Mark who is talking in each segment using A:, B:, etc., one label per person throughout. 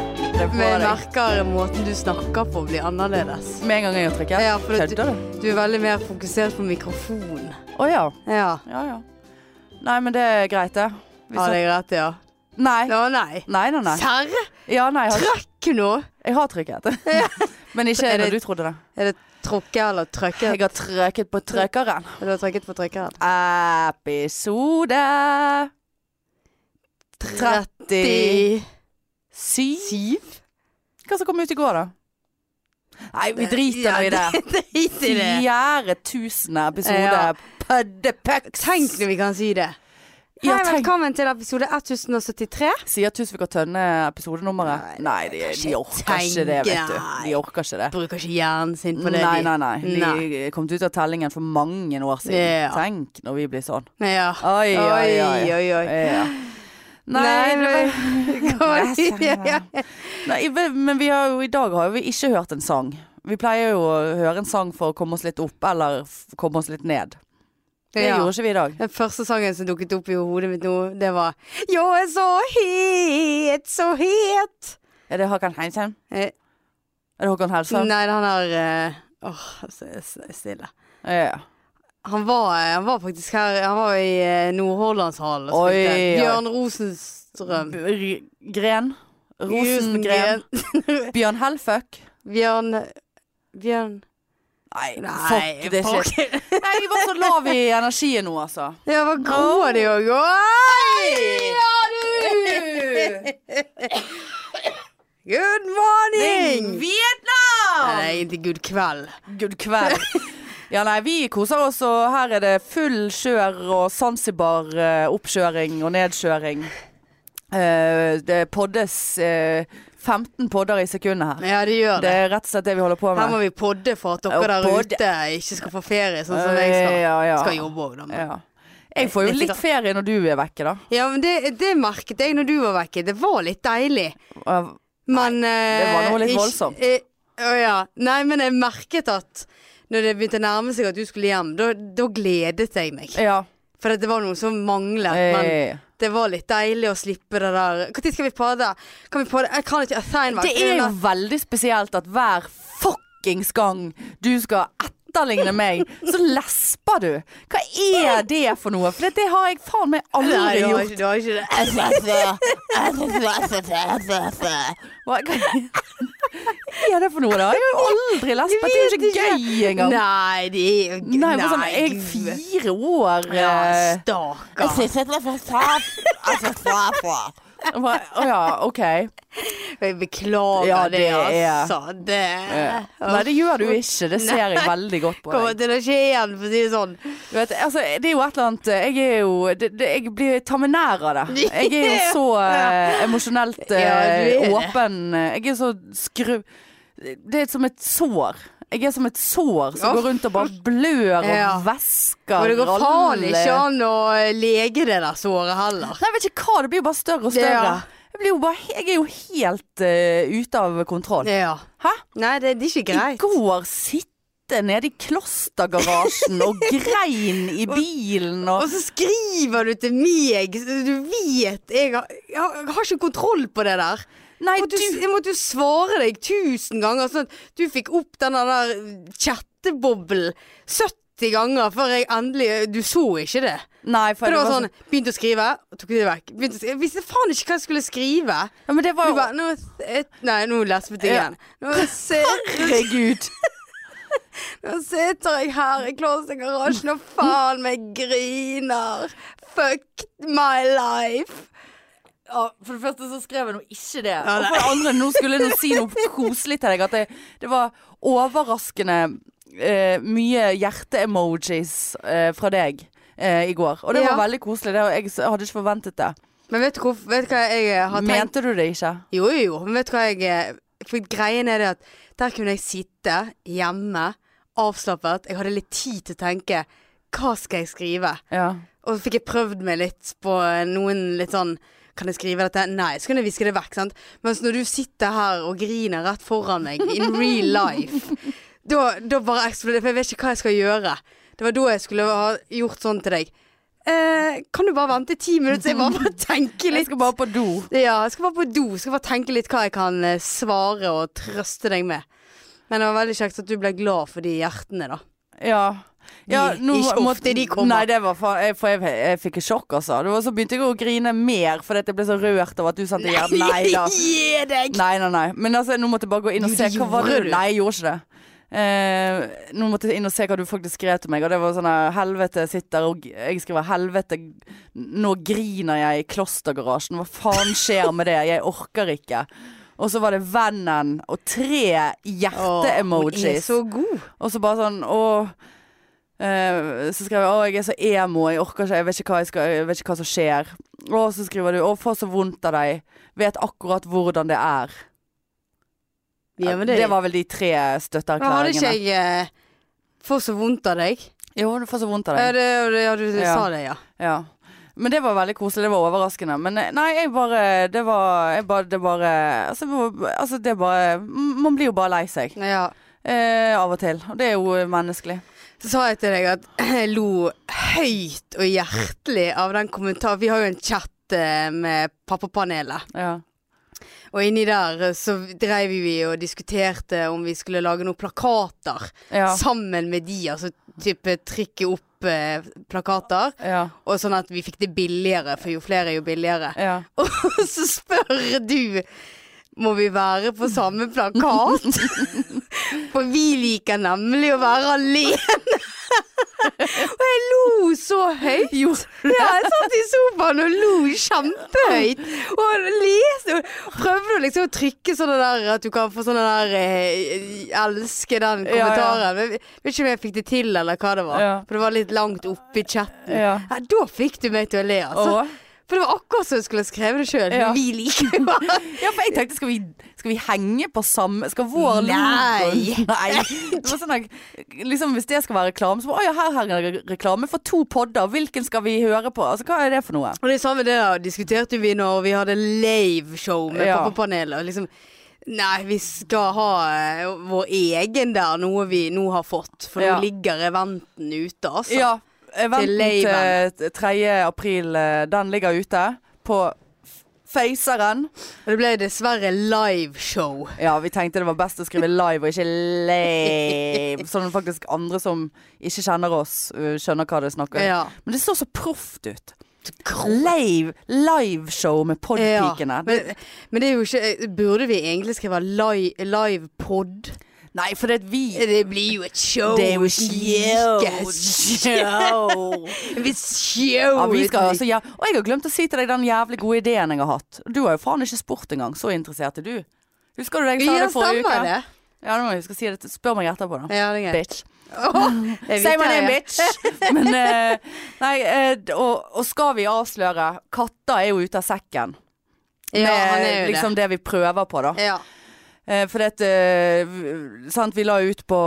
A: jeg
B: deg.
A: merker måten du snakker på blir annerledes.
B: Med en gang jeg gjør trekket.
A: Ja, for du,
B: Kødder du?
A: du er veldig mer fokusert på mikrofon.
B: Å ja.
A: Ja.
B: Ja ja. Nei, men det er greit, det. Vi
A: Har jeg rett, ja?
B: snakker- Nei.
A: Å nei.
B: Nei, nei, nei.
A: Serr?
B: Ja, nei, jeg har,
A: Trøkk nå!
B: jeg har trykket. Men ikke
A: Er det-
B: når du trodde det.
A: Er det tråkke eller trøkke?
B: Jeg har trykket på trøkkeren.
A: Du har trykket på trykkeren.
B: Episode 37. Hva som kom ut i går, da? Nei, vi
A: Eh,
B: driter nå i det.
A: Drit i det.
B: Fjerde tusen episode
A: Ja.
B: Pøddepøks.
A: Tenk når vi kan si det.
B: Ja,
A: Hei,
B: tenk.
A: velkommen til episode 1073.
B: Sier Tusvik og Tønne episodenummeret? Nei, de, de orker ikke det, vet du. De orker ikke det.
A: Bruker ikke hjernen sin på det.
B: Nei,
A: de.
B: nei, nei. De
A: Nei.
B: kom ut av tellingen for mange år siden.
A: Ja.
B: Tenk når vi blir sånn.
A: Ja.
B: Oi, oi, oi.
A: oi, oi.
B: Ja. Nei,
A: Nei,
B: det-
A: Hva-
B: Nei, jeg
A: Ja.
B: nei, vel, men vi har jo, i dag har jo vi ikke hørt en sang. Vi pleier jo å høre en sang for å komme oss litt opp, eller f- komme oss litt ned. Det
A: Ja.
B: gjorde ikke vi i dag.
A: Den første sangen som dukket opp i hodet mitt nå, det var Jeg er så het, så het.
B: Er det Håkan Heimsheim?
A: Eh,
B: Er det Håkan Helsheim?
A: Nei, han har eh, Åh, så er det stille.
B: Ja.
A: Han var, eh, han var faktisk her Han var i eh, Nordhordlandshallen og
B: Oi,
A: spilte.
B: oi.
A: Bjørn Rosenstrøm.
B: R- Gren. Rosengren. Bjørn Helføk.
A: Bjørn Bjørn
B: Nei,
A: Nei,
B: fuck det shit. Nei, vi var så lav i energien nå, altså.
A: Ja, hva god de òg.
B: Ja, du!
A: Good morning! Nei, det
B: Vietnam!
A: er egentlig good kveld.
B: Eh, Good kveld. Ja, nei, vi koser oss, og her er det full kjør og Zanzibar-oppkjøring og nedkjøring. Eh, det poddes eh, 15 podder i sekundet her.
A: Ja, det gjør
B: Det
A: det.
B: er rett og slett det vi holder på
A: Her
B: med.
A: må vi podde for at
B: Ja,
A: dere der
B: podde.
A: ute ikke skal få ferie, sånn som jeg skal.
B: Ja, ja.
A: Skal jobbe òg, da. men-
B: Ja. Jeg får jo litt ferie når du er vekke, da.
A: Ja, men det, det merket jeg når du var vekke. Det var litt deilig.
B: Og-
A: Men Det
B: var noe litt voldsomt.
A: Å ja. Nei, men jeg merket at når det begynte å nærme seg at du skulle hjem, da- da gledet jeg meg.
B: Ja.
A: For det var noe som manglet. Men
B: Eh,
A: det var litt deilig å slippe det der Når skal vi podde? Kan vi podde? Jeg kan ikke assignment.
B: Det er jo veldig spesielt at hver fuckings gang du skal etterligne meg, så lesper du. Hva er det for noe? For det har jeg faen meg
A: Nei,
B: aldri
A: du har
B: gjort.
A: ikke, du har ikke det.
B: Hva hva- hva er det for noe, da? Jeg har jo aldri lespet. Det er jo ikke gøy engang.
A: Nei, det er jo
B: Nei, bare sånn, jeg er
A: gud.
B: fire år
A: ja,
B: eh,
A: Stakkar.
B: bare, Å ja, OK.
A: Jeg beklager
B: Ja,
A: det,
B: det er-
A: altså. Det
B: Eh, Nei, det gjør du ikke. Det ser jeg veldig godt på deg.
A: kommer til å skje igjen, for å si det sånn.
B: Du vet, altså, det er jo et eller annet eh, Jeg er jo det, det, Jeg blir tar meg nær av det. Jeg er jo så eh, emosjonelt eh,
A: Ja, du er det.
B: åpen. Jeg er så skru... Det er som et sår. Jeg er som et sår som
A: Ja.
B: går rundt og bare blør og
A: Ja.
B: væsker.
A: Og det går faen
B: alle-
A: ikke an å eh, lege det der såret heller.
B: Nei, jeg vet ikke hva. Det blir jo bare større og større.
A: Ja.
B: Jeg, blir jo bare, he- jeg er jo helt eh, ute av kontroll.
A: Ja.
B: Hæ?
A: Nei, det, det er ikke
B: I
A: greit.
B: går sitte nede i klostergarasjen og grein i bilen og
A: Og så skriver du til meg, så du vet jeg har, jeg har jeg har ikke kontroll på det der.
B: Nei,
A: Jeg måtte, jo- jeg måtte jo svare deg tusen ganger, sånn at du fikk opp den der chatteboblen 70 ganger før jeg endelig Du så ikke det.
B: Nei, for
A: For det var sånn Begynte å skrive, og tok det vekk. Begynte å skrive, jeg visste faen ikke hva jeg skulle skrive.
B: Ja, men det var
A: Du
B: jo
A: bare nå, eh, Nei, nå lespet jeg
B: Ja.
A: igjen. Nå, se,
B: Herregud.
A: nå sitter jeg her i klostergarasjen og faen meg griner. Fuck my life.
B: Ja, for det første så skrev jeg nå ikke det.
A: nei.
B: og for det andre, nå skulle jeg nå si noe koselig til deg. At det, det var overraskende eh, mye hjerte-emojis eh, fra deg eh, i går. Og det
A: Ja.
B: var veldig koselig. Det, og jeg s- hadde ikke forventet det.
A: Men vet du, hvor, vet du hva jeg har tenkt?
B: Mente du det ikke?
A: Jo, jo, jo, men vet du hva jeg eh, For greien er det at der kunne jeg sitte hjemme, avslappet. Jeg hadde litt tid til å tenke hva skal jeg skrive?
B: Ja.
A: Og så fikk jeg prøvd meg litt på noen litt sånn Kan jeg skrive dette? Nei, så kunne jeg viske det vekk. sant? Mens når du sitter her og griner rett foran meg in real life, da, da bare eksploderer For jeg vet ikke hva jeg skal gjøre. Det var da jeg skulle ha gjort sånn til deg. eh, kan du bare vente ti minutter, så jeg bare må tenke
B: Jeg
A: litt.
B: skal bare på do.
A: Ja, jeg skal bare på do, skal bare tenke litt hva jeg kan eh, svare og trøste deg med. Men det var veldig kjekt at du ble glad for de hjertene, da.
B: Ja. Ja,
A: De- ikke ofte
B: måtte-
A: de kommer.
B: Nei, det var faen jeg, For jeg, jeg fikk et sjokk, altså. Det var, så begynte jeg å grine mer fordi at jeg ble så rørt av at du sendte hjernen. Nei da.
A: Gi deg!
B: Nei, nei, nei. Men altså, nå måtte jeg bare gå inn og
A: Jo,
B: se.
A: det
B: Hva var
A: gjorde
B: det?
A: du.
B: Nei, jeg gjorde ikke det. Eh, nå måtte jeg inn og se hva du faktisk skrev til meg, og det var sånn her, Helvete sitter og Jeg skriver 'helvete, nå griner jeg i klostergarasjen'. Hva faen skjer med det? Jeg orker ikke. Og så var det vennen og tre
A: Hun er
B: hjerte-emojis.
A: så god.
B: Og så bare sånn Å eh, så skrev jeg Å, jeg er så emo, jeg orker ikke, jeg vet ikke hva, jeg skal, jeg vet ikke hva som skjer. Og så skriver du Å, får så vondt av deg. Vet akkurat hvordan det er.
A: Ja, men det,
B: var vel de tre
A: Men hadde ikke
B: støtteerklæringene.
A: jeg eh, Får så vondt av deg.
B: Jo, du får så vondt av
A: Ja,
B: deg.
A: det, ja du
B: Ja.
A: sa det, ja.
B: Ja. Men det var veldig koselig. Det var overraskende. Men eh, nei, jeg bare Det var jeg bare, Det bare altså, det var- altså, det bare Man blir jo bare lei seg.
A: ja.
B: Eh, av og til. Og det er jo eh, menneskelig.
A: Så sa jeg til deg at jeg lo høyt og hjertelig av den kommentaren. Vi har jo en chat eh, med pappapanelet.
B: Ja.
A: Og inni der eh, så dreiv vi og diskuterte om vi skulle lage noen plakater
B: Ja.
A: sammen med de. Altså type trykke opp eh, plakater,
B: Ja.
A: og sånn at vi fikk det billigere, for jo flere, jo billigere.
B: ja.
A: Og så spør du må vi være på samme plakat? For vi liker nemlig å være alene. Og jeg lo så høyt. Ja, jeg satt i sofaen og lo kjempehøyt. Og leste og prøvde å liksom å trykke sånn der at du kan få sånn der eh, Elske den
B: Ja, ja.
A: kommentaren. Men jeg vet ikke om jeg fikk det til, eller hva det var.
B: Ja.
A: For det var litt langt oppe i chatten.
B: ja.
A: Ja, da fikk du meg til å le, altså.
B: Og?
A: For det var akkurat som jeg skulle ha skrevet det sjøl.
B: Ja.
A: Men Vi liker jo bare
B: Ja, for jeg tenkte, skal vi, skal vi henge på samme Skal vår
A: Nei.
B: logo Nei! Det var sånn at, liksom, hvis det skal være reklame, så bare, «Å ja, her henger det re- reklame for to podder. Hvilken skal vi høre på? Altså, hva er det for noe?
A: Og det samme det da, diskuterte vi når vi hadde live-show med
B: Ja.
A: pappapanelet. og Liksom, nei, vi skal ha eh, vår egen der, noe vi nå har fått. For
B: Ja.
A: nå ligger eventen ute, altså.
B: Ja,
A: Til
B: Venten
A: Leiven.
B: til 3. april. eh, Den ligger ute på f- Faceren.
A: Og det ble dessverre live-show.
B: Ja, vi tenkte det var best å skrive live og ikke lave. Sånn at faktisk andre som ikke kjenner oss, eh, skjønner hva det er snakk om.
A: Ja.
B: Men det så så proft ut. Live liveshow med
A: Ja.
B: podpikene.
A: Men, men det er jo ikke eh, Burde vi egentlig skrive li- live-pod?
B: Nei, for det er vi
A: det blir jo et show.
B: Det er jo
A: ikke
B: show.
A: Vi show.
B: Ja, vi skal altså, ja. Og jeg har glemt å si til deg den jævlig gode ideen jeg har hatt. Du har jo faen ikke spurt engang. Så interessert er du. Husker du det jeg sa
A: Ja,
B: det forrige uke?
A: stemmer det.
B: Ja, nå må jeg huske å si det. Spør meg etterpå, da.
A: Ja, det er greit.
B: Bitch.
A: Jeg
B: Say
A: vet
B: my
A: det,
B: name,
A: ja.
B: bitch. Men eh, Nei, eh, d- og, og skal vi avsløre Katter er jo ute av sekken.
A: Ja,
B: med
A: han er jo
B: liksom det. vi prøver på, da.
A: det. Ja.
B: Eh, for det, eh, v- sant, vi la ut på,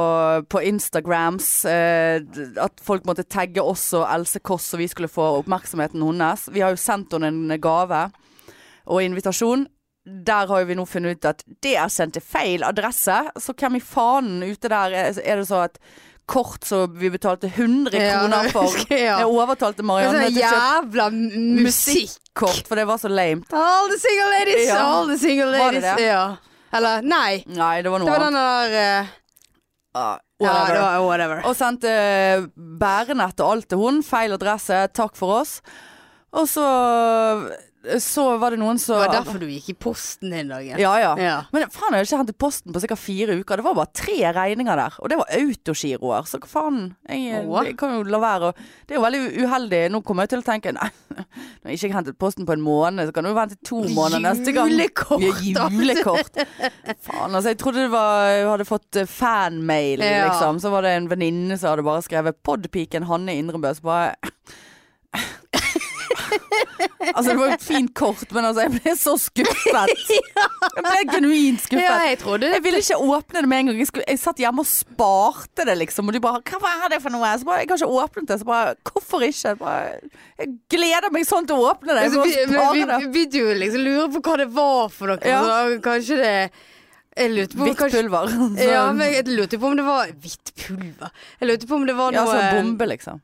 B: på Instagrams eh, d- at folk måtte tagge oss og Else Kåss, så vi skulle få oppmerksomheten hennes. Vi har jo sendt henne en gave og invitasjon. Der har jo vi nå funnet ut at det er sendt til feil adresse, så hvem i faen ute der er, er det så at kort som vi betalte 100
A: Ja,
B: kroner
A: jeg
B: for
A: husker, ja.
B: Jeg overtalte Marianne
A: Sånn
B: til å kjøpe
A: jævla m- musikk.
B: musikkort, for det var så lame.
A: All the single ladies,
B: Ja.
A: all the single
B: Var
A: ladies.
B: det det?
A: Ja. Eller nei,
B: Nei, det var
A: det
B: noe
A: var
B: annet.
A: den der eh,
B: Ah,
A: Ja,
B: whatever.
A: det var whatever.
B: Og sendte eh, bærenett og alt til hun. Feil adresse, takk for oss. Og så Så var det noen som
A: Det var derfor du gikk i posten den dagen.
B: Ja, ja.
A: Ja.
B: Men faen, jeg har ikke hentet posten på sikkert fire uker. Det var bare tre regninger der. Og det var autogiroer. Så hva faen. Jeg, eh,
A: Åh.
B: jeg kan jo la være å Det er jo veldig uheldig. Nå kommer jeg til å tenke Nei, når jeg ikke har hentet posten på en måned, så kan du jo vente to måneder neste gang.
A: Julekort,
B: Ja, julekort. faen, altså. Jeg trodde det var Jeg hadde fått eh, fanmail,
A: Ja.
B: liksom. Så var det en venninne som hadde bare skrevet 'Podpiken Hanne Indrebø'. Så bare Altså, det var jo et fint kort, men altså, jeg ble så skuffet. Jeg ble genuint skuffet.
A: Ja, jeg trodde det.
B: Jeg ville ikke åpne det med en gang. Jeg, skulle, jeg satt hjemme og sparte det, liksom. Og de bare 'Hva er det for noe?' Så bare, jeg har ikke åpnet det. Så bare 'Hvorfor ikke?' Jeg, bare, jeg gleder meg sånn til å åpne det. Jeg
A: Altså,
B: må
A: vi, men vi,
B: spare det.
A: vi begynte jo liksom å lure på hva det var for noe.
B: Ja.
A: Så da, kanskje det Jeg lurte på om
B: Hvitt
A: kanskje,
B: pulver. sånn. Så,
A: ja, men jeg lurte på om det var Hvitt pulver? Jeg lurte på om det var
B: ja, sånn
A: noe eh,
B: så bombe, liksom.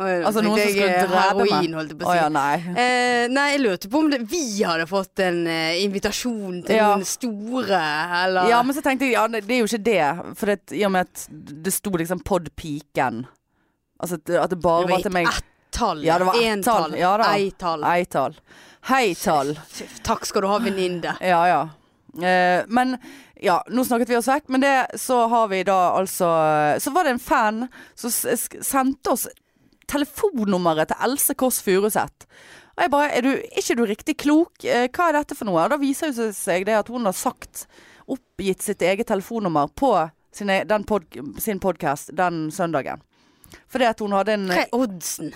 B: Altså noen som skulle drepe meg.
A: heroin, holdt jeg på å si.
B: Å ja, nei.
A: Eh, nei, jeg lurte på om det, vi hadde fått en eh, invitasjon til
B: Ja.
A: den store, eller
B: Ja, men så tenkte jeg ja, det er jo ikke det. For det, i og med at det sto liksom Podpiken. Altså at det- at det bare
A: Det var
B: var til meg.
A: ett tall.
B: Ja, det var ett
A: tall.
B: tall. Ja da.
A: Ei-tall.
B: Eitall. Heitall.
A: Takk skal du ha, venninne.
B: Ja, ja. Eh, men ja, nå snakket vi oss vekk. Men det, så har vi da altså Så var det en fan som s- sk- sendte oss telefonnummeret til Else Kåss Furuseth. Og jeg bare Er du, er ikke du riktig klok? Eh, Hva er dette for noe? Og da viser det seg det at hun har sagt Oppgitt sitt eget telefonnummer på sin, e- den pod, sin podkast den søndagen. Fordi at hun hadde en
A: Hva er oddsen?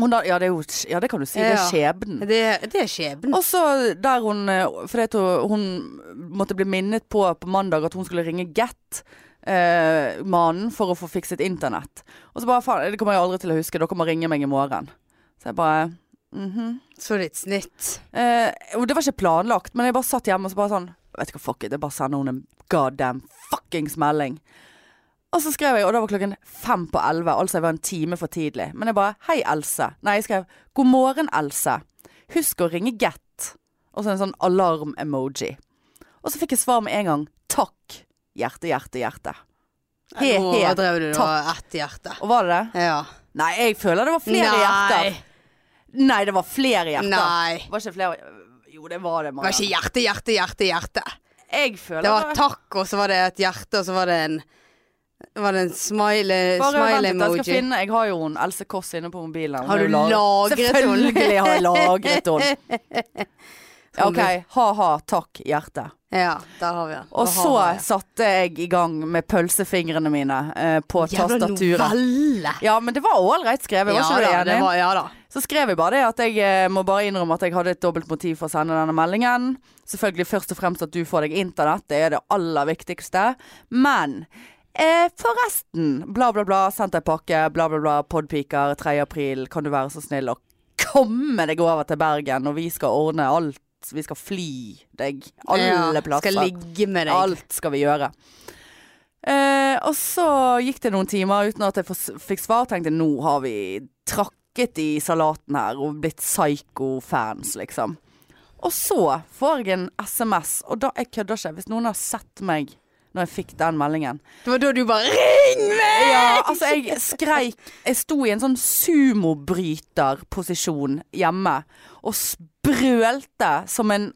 B: hun hadde, ja, det er jo, ja, det kan du si. Det er
A: Ja.
B: skjebnen.
A: Det, det er skjebnen.
B: Og så der hun eh, Fordi at hun- hun måtte bli minnet på på mandag at hun skulle ringe Get. Eh, mannen for å få fikset internett. Og så bare faen, det kommer jeg aldri til å huske, dere må ringe meg i morgen. Så jeg bare mhm.
A: Så litt snitt.
B: eh, Og det var ikke planlagt, men jeg bare satt hjemme og så bare sånn Vet du hva, fuck it, jeg bare sender hun en goddamn fuckings melding. Og så skrev jeg, og da var klokken fem på elleve, altså jeg var en time for tidlig. Men jeg bare Hei, Else. Nei, jeg skrev God morgen, Else. Husk å ringe Get. Og så en sånn alarm-emoji. Og så fikk jeg svar med en gang. Takk. Hjerte, hjerte, hjerte. He,
A: Nå
B: he.
A: drev du da ett hjerte.
B: Og var det det?
A: Ja.
B: Nei, jeg føler det var flere hjerter. Nei, det var flere hjerter.
A: Nei.
B: Var ikke flere Jo, det var det,
A: Det var ikke
B: Marianne.
A: hjerte, hjerte, hjerte, hjerte.
B: Jeg føler
A: Det var takk, og så var det et hjerte, og så var det en Var det en smile,
B: Bare vent litt, jeg skal
A: smile-emoji?
B: finne Jeg har jo hun Else Kåss inne på mobilen. Hun
A: Har
B: er
A: du
B: jo lag-
A: lagret hun?
B: Selvfølgelig har jeg lagret henne.
A: Sånn
B: OK, ha-ha, takk, hjerte.
A: Ja, der har vi den.
B: Og
A: Der
B: så
A: har vi den.
B: satte jeg i gang med pølsefingrene mine eh, på
A: Jævla
B: tastaturet.
A: novelle!
B: Ja, men det var ålreit skrevet, var ikke
A: ja,
B: du
A: da, det
B: enig?
A: var, ja da.
B: Så skrev jeg bare det at jeg eh, må bare innrømme at jeg hadde et dobbelt motiv for å sende denne meldingen. Selvfølgelig først og fremst at du får deg internett, det er det aller viktigste. Men eh, forresten, bla bla bla, sendt deg pakke, bla bla bla, podpiker, 3. april, kan du være så snill å komme deg over til Bergen, og vi skal ordne alt. Vi skal fly deg alle
A: ja,
B: plasser.
A: Skal ligge med deg.
B: Alt skal vi gjøre. Eh, og så gikk det noen timer uten at jeg fås- fikk svar. Tenkte nå har vi trakket i salaten her og blitt psycho-fans, liksom. Og så får jeg en SMS, og da jeg kødder ikke. Hvis noen har sett meg når jeg fikk den meldingen
A: Det var da du bare Ring meg!
B: ja, altså jeg skreik Jeg sto i en sånn sumobryterposisjon hjemme og sprølte som en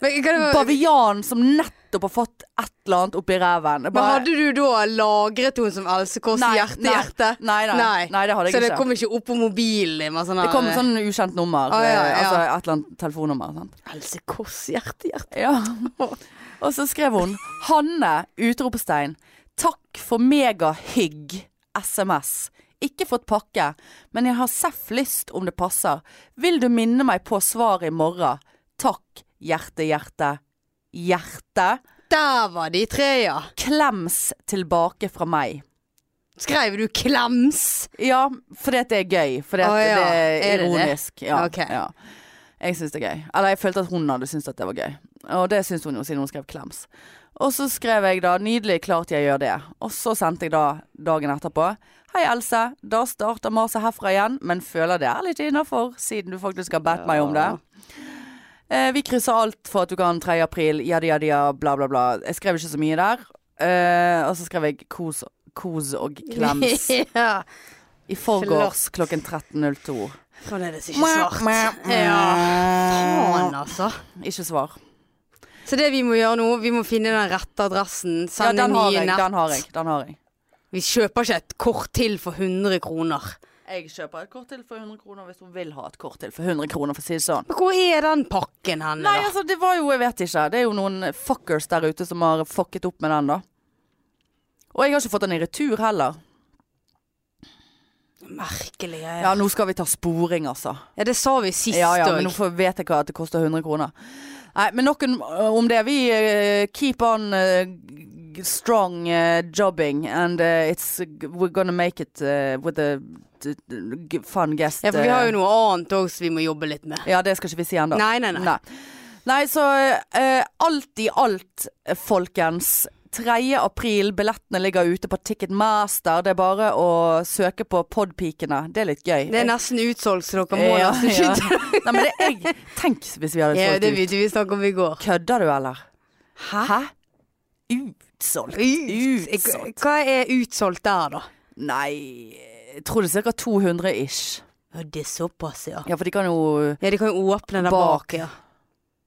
A: Men, kan det, være-
B: bavian som nettopp har fått et eller annet oppi ræven. Jeg
A: men
B: bare-
A: hadde du da lagret henne som Else Kåss
B: Nei,
A: hjerte,
B: nei,
A: hjerte?
B: Nei, nei, nei. det hadde jeg
A: Så det
B: ikke.
A: kom ikke opp på mobilen din? med Sånn
B: det kom
A: her,
B: sånn ukjent nummer.
A: Å, ja,
B: eh,
A: ja.
B: Altså et eller annet telefonnummer. Sant?
A: Else Kåss hjerte, hjerte.
B: Ja. Og så skrev hun Hanne! Utropstegn. Takk for megahygg. SMS. Ikke fått pakke, men jeg har seff lyst om det passer. Vil du minne meg på svaret i morgen? Takk, hjerte, hjerte. Hjerte.
A: Der var de tre, ja.
B: Klems tilbake fra meg.
A: Skrev du 'klems'?
B: Ja, fordi at det er gøy. Fordi at
A: Å, ja.
B: det er
A: Er det det?
B: ironisk. Ja,
A: Ok.
B: ja. Jeg syns det er gøy. Eller jeg følte at hun hadde syntes at det var gøy. Og det syns hun jo siden hun skrev klems. Og så skrev jeg da 'nydelig, klart jeg gjør det'. Og så sendte jeg da dagen etterpå 'Hei, Else. Da starter maset herfra igjen, men føler det er litt innafor, siden du faktisk har bedt meg om det'. Eh, vi krysser alt for at du kan 3. april, jadi jadi, bla bla bla. Jeg skrev ikke så mye der. Eh, og så skrev jeg kos, kos og klems.
A: ja.
B: I forgårs klokken 13.02.
A: Sånn er det så ikke svart. Ja. Faen,
B: Ja.
A: altså.
B: Ikke svar.
A: Så det vi må gjøre nå, vi må finne den rette adressen.
B: Ja,
A: Sende
B: den har
A: nye
B: jeg.
A: nett.
B: Den har jeg. Den har jeg.
A: Vi kjøper ikke et kort til for 100 kroner.
B: Jeg kjøper et kort til for 100 kroner hvis hun vil ha et kort til for 100 kroner, for å si det sånn.
A: Men hvor er den pakken hen,
B: Nei,
A: da?
B: altså, det var jo Jeg vet ikke. Det er jo noen fuckers der ute som har fucket opp med den, da. Og jeg har ikke fått den i retur heller.
A: Merkelige
B: Ja,
A: greier.
B: nå skal vi ta sporing, altså.
A: Ja, det sa vi sist òg.
B: Ja, ja, men nå får- vet jeg hva at det koster 100 kroner. Nei, men nok om- om det. Vi eh, keep on eh, g- strong eh, jobbing and eh, it's we're gonna make it eh, with a d- d- g- fun guest.
A: Ja, for vi har
B: eh.
A: jo noe annet òg som vi må jobbe litt med.
B: Ja, det skal ikke vi si ennå.
A: Nei, nei, nei.
B: Nei. Nei, så eh, alt i alt, eh, folkens. 3. april. Billettene ligger ute på Ticketmaster. Det er bare å søke på Podpikene. Det er litt gøy.
A: Det er nesten utsolgt, så dere må
B: Ja,
A: nesten
B: ja.
A: skynde
B: Nei, men det er jeg. Tenk hvis vi hadde
A: Ja,
B: solgt
A: det
B: ut.
A: begynte vi å snakke om i går.
B: Kødder du, eller? Hæ? Utsolgt? Utsolgt?
A: Hva er utsolgt der, da?
B: Nei, jeg tror det er ca. 200 ish.
A: Det er såpass, ja.
B: Ja, for de kan jo
A: Ja, de kan jo åpne der
B: Bak.
A: bak, ja.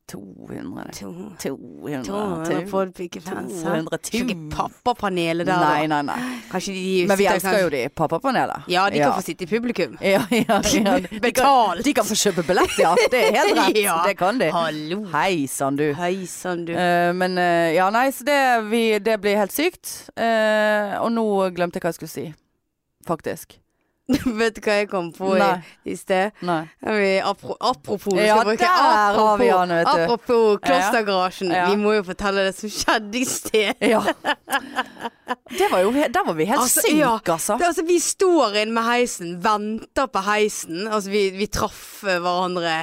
B: 200 det.
A: To-
B: 200
A: 200 podpikefans. hæ?
B: 200
A: Skal ikke pappapanelet der,
B: Nei, nei,
A: da?
B: nei.
A: Kanskje de
B: Men vi sånn-
A: sitter-
B: elsker jo de. Pappapanelet.
A: Ja, de kan få sitte i publikum.
B: ja, ja, ja. De, kan,
A: Betalt.
B: de kan få kjøpe billett, ja. Det er helt rett.
A: Ja.
B: Det kan de.
A: Hallo.
B: Hei sann, du.
A: Hei sann, du.
B: Eh, men eh, ja, nei, så det, vi, det blir helt sykt. Eh, og nå glemte jeg hva jeg skulle si. Faktisk.
A: Vet du hva jeg kom på i,
B: Nei.
A: i sted?
B: Nei.
A: Ja, vi- Apro, apropos, vi
B: Ja,
A: skal bruke
B: der har
A: apropos,
B: vi han, vet du.
A: apropos klostergarasjen.
B: Ja.
A: Vi må jo fortelle det som skjedde i sted.
B: Ja. Det var jo he Der var vi helt
A: Altså,
B: synk,
A: ja.
B: altså.
A: Det, er altså, vi står inn med heisen, venter på heisen. Altså, vi, vi traff eh, hverandre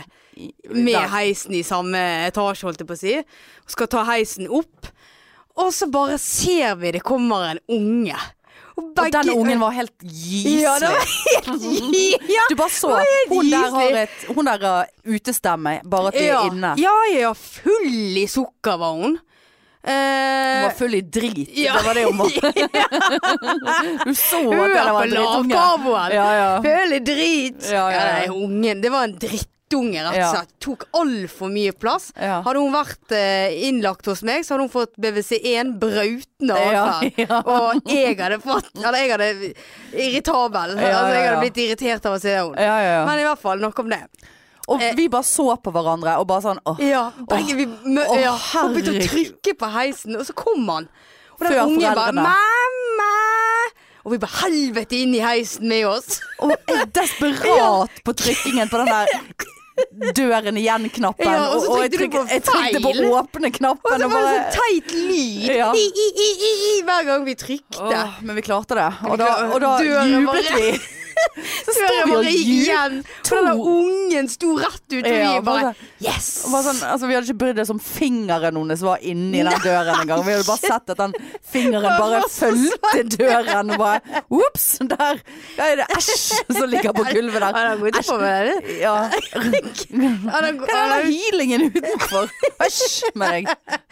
A: med
B: Der.
A: heisen i samme etasje, holdt jeg på å si. Og skal ta heisen opp. Og så bare ser vi det kommer en unge.
B: Og den ungen var helt gyselig.
A: Ja, det var helt ja.
B: Du bare så
A: Hva er det
B: Hun der
A: gyselig?
B: har et Hun der har utestemme, bare at de
A: ja.
B: er inne.
A: Ja, ja, full i sukker var hun.
B: Hun
A: Eh,
B: var full i drit.
A: Ja.
B: Det var det hun var. Du så at det
A: Hør
B: var
A: på
B: en drittunge.
A: lavkarboen!
B: Ja, ja.
A: Føler drit!
B: Ja, ja, ja.
A: nei, ungen, det var en drittunge, rett
B: Ja.
A: og slett. Tok altfor mye plass.
B: Ja.
A: Hadde hun vært eh, innlagt hos meg, så hadde hun fått BVC1 brautende
B: Ja,
A: atferd.
B: ja.
A: Og jeg hadde fått Eller jeg hadde Irritabel.
B: ja,
A: Altså, jeg
B: ja.
A: hadde blitt irritert av å se henne.
B: Ja, ja, ja.
A: Men eh, i hvert fall, nok om det.
B: Og vi bare så på hverandre og bare sånn åh.
A: Ja, begge vi mø
B: Åh,
A: ja, og begynte å
B: herregud.
A: trykke på heisen, og så kom han. Og den
B: Før
A: ungen bare
B: foreldrene.
A: 'mamma'. Og vi bare helvete inn i heisen med oss.
B: Og er desperat på trykkingen på den der døren igjen-knappen.
A: Ja, og så
B: jeg,
A: trykte du på
B: jeg trykte på
A: feil.
B: åpne knappen.
A: Og så
B: og
A: var det
B: bare-
A: sånn teit lyd
B: Ja.
A: i, i, i, i, i, hver gang vi trykte.
B: Åh, men vi klarte det. Og da,
A: klarte-
B: og da
A: døren
B: jublet
A: bare-
B: vi. Så
A: Så
B: står
A: jeg
B: vi og
A: bare gikk
B: jubler.
A: igjen. Og
B: to-
A: den der ungen sto rett ut, og vi
B: Ja,
A: bare
B: bare-
A: Yes!
B: Og bare Sånn, altså, vi hadde ikke brydd oss om fingeren hennes var inni den døren engang. Vi hadde bare sett at den fingeren bare
A: var så
B: fulgte døren og bare Ops! Der der er det æsj som ligger på gulvet
A: Ja,
B: der.
A: den går ikke på med det.
B: Ja.
A: Ja, den går-
B: Hva er
A: ja,
B: den
A: den-
B: hylingen utenfor? Æsj med deg.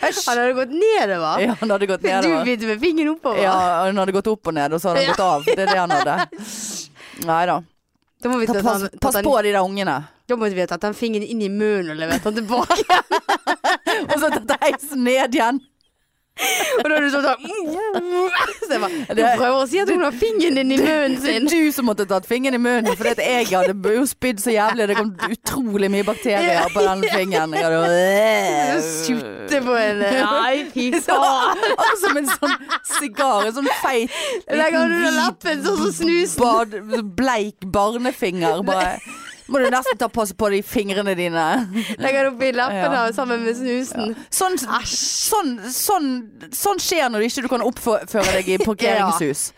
B: Æsj.
A: Han hadde gått nedover.
B: Ja, han hadde gått
A: Du
B: nedover.
A: begynte med fingeren oppover.
B: Ja, han hadde gått opp og ned, og så hadde han
A: Ja.
B: gått av. Det er det han hadde. Nei da.
A: Da må vi ta,
B: Pass,
A: ta-
B: pass
A: ta den-
B: på de der ungene.
A: Da måtte vi ha tatt den fingeren inn i munnen og levert den tilbake.
B: Og så tatt heisen ned igjen.
A: og da hadde du sånn sånn Så jeg bare Hun
B: Det-
A: prøver å si at hun har fingeren din i munnen
B: Det er
A: sin.
B: du som måtte tatt fingeren i munnen, for jeg hadde b- jo spydd så jævlig. Det kom utrolig mye bakterier på den fingeren. Jeg hadde
A: Sutte på en Nei, fy faen.
B: Akkurat som en sånn sigar, en sånn feit liten
A: Legger han under
B: hvit
A: lappen, sånn som snusen.
B: Bad, bleik barnefinger. Bare må du nesten ta passe på de fingrene dine.
A: Legger den oppi lappen
B: Ja.
A: da, sammen med snusen.
B: Sånn, sånn, sånn, sånn skjer når ikke du kan oppføre deg i parkeringshus.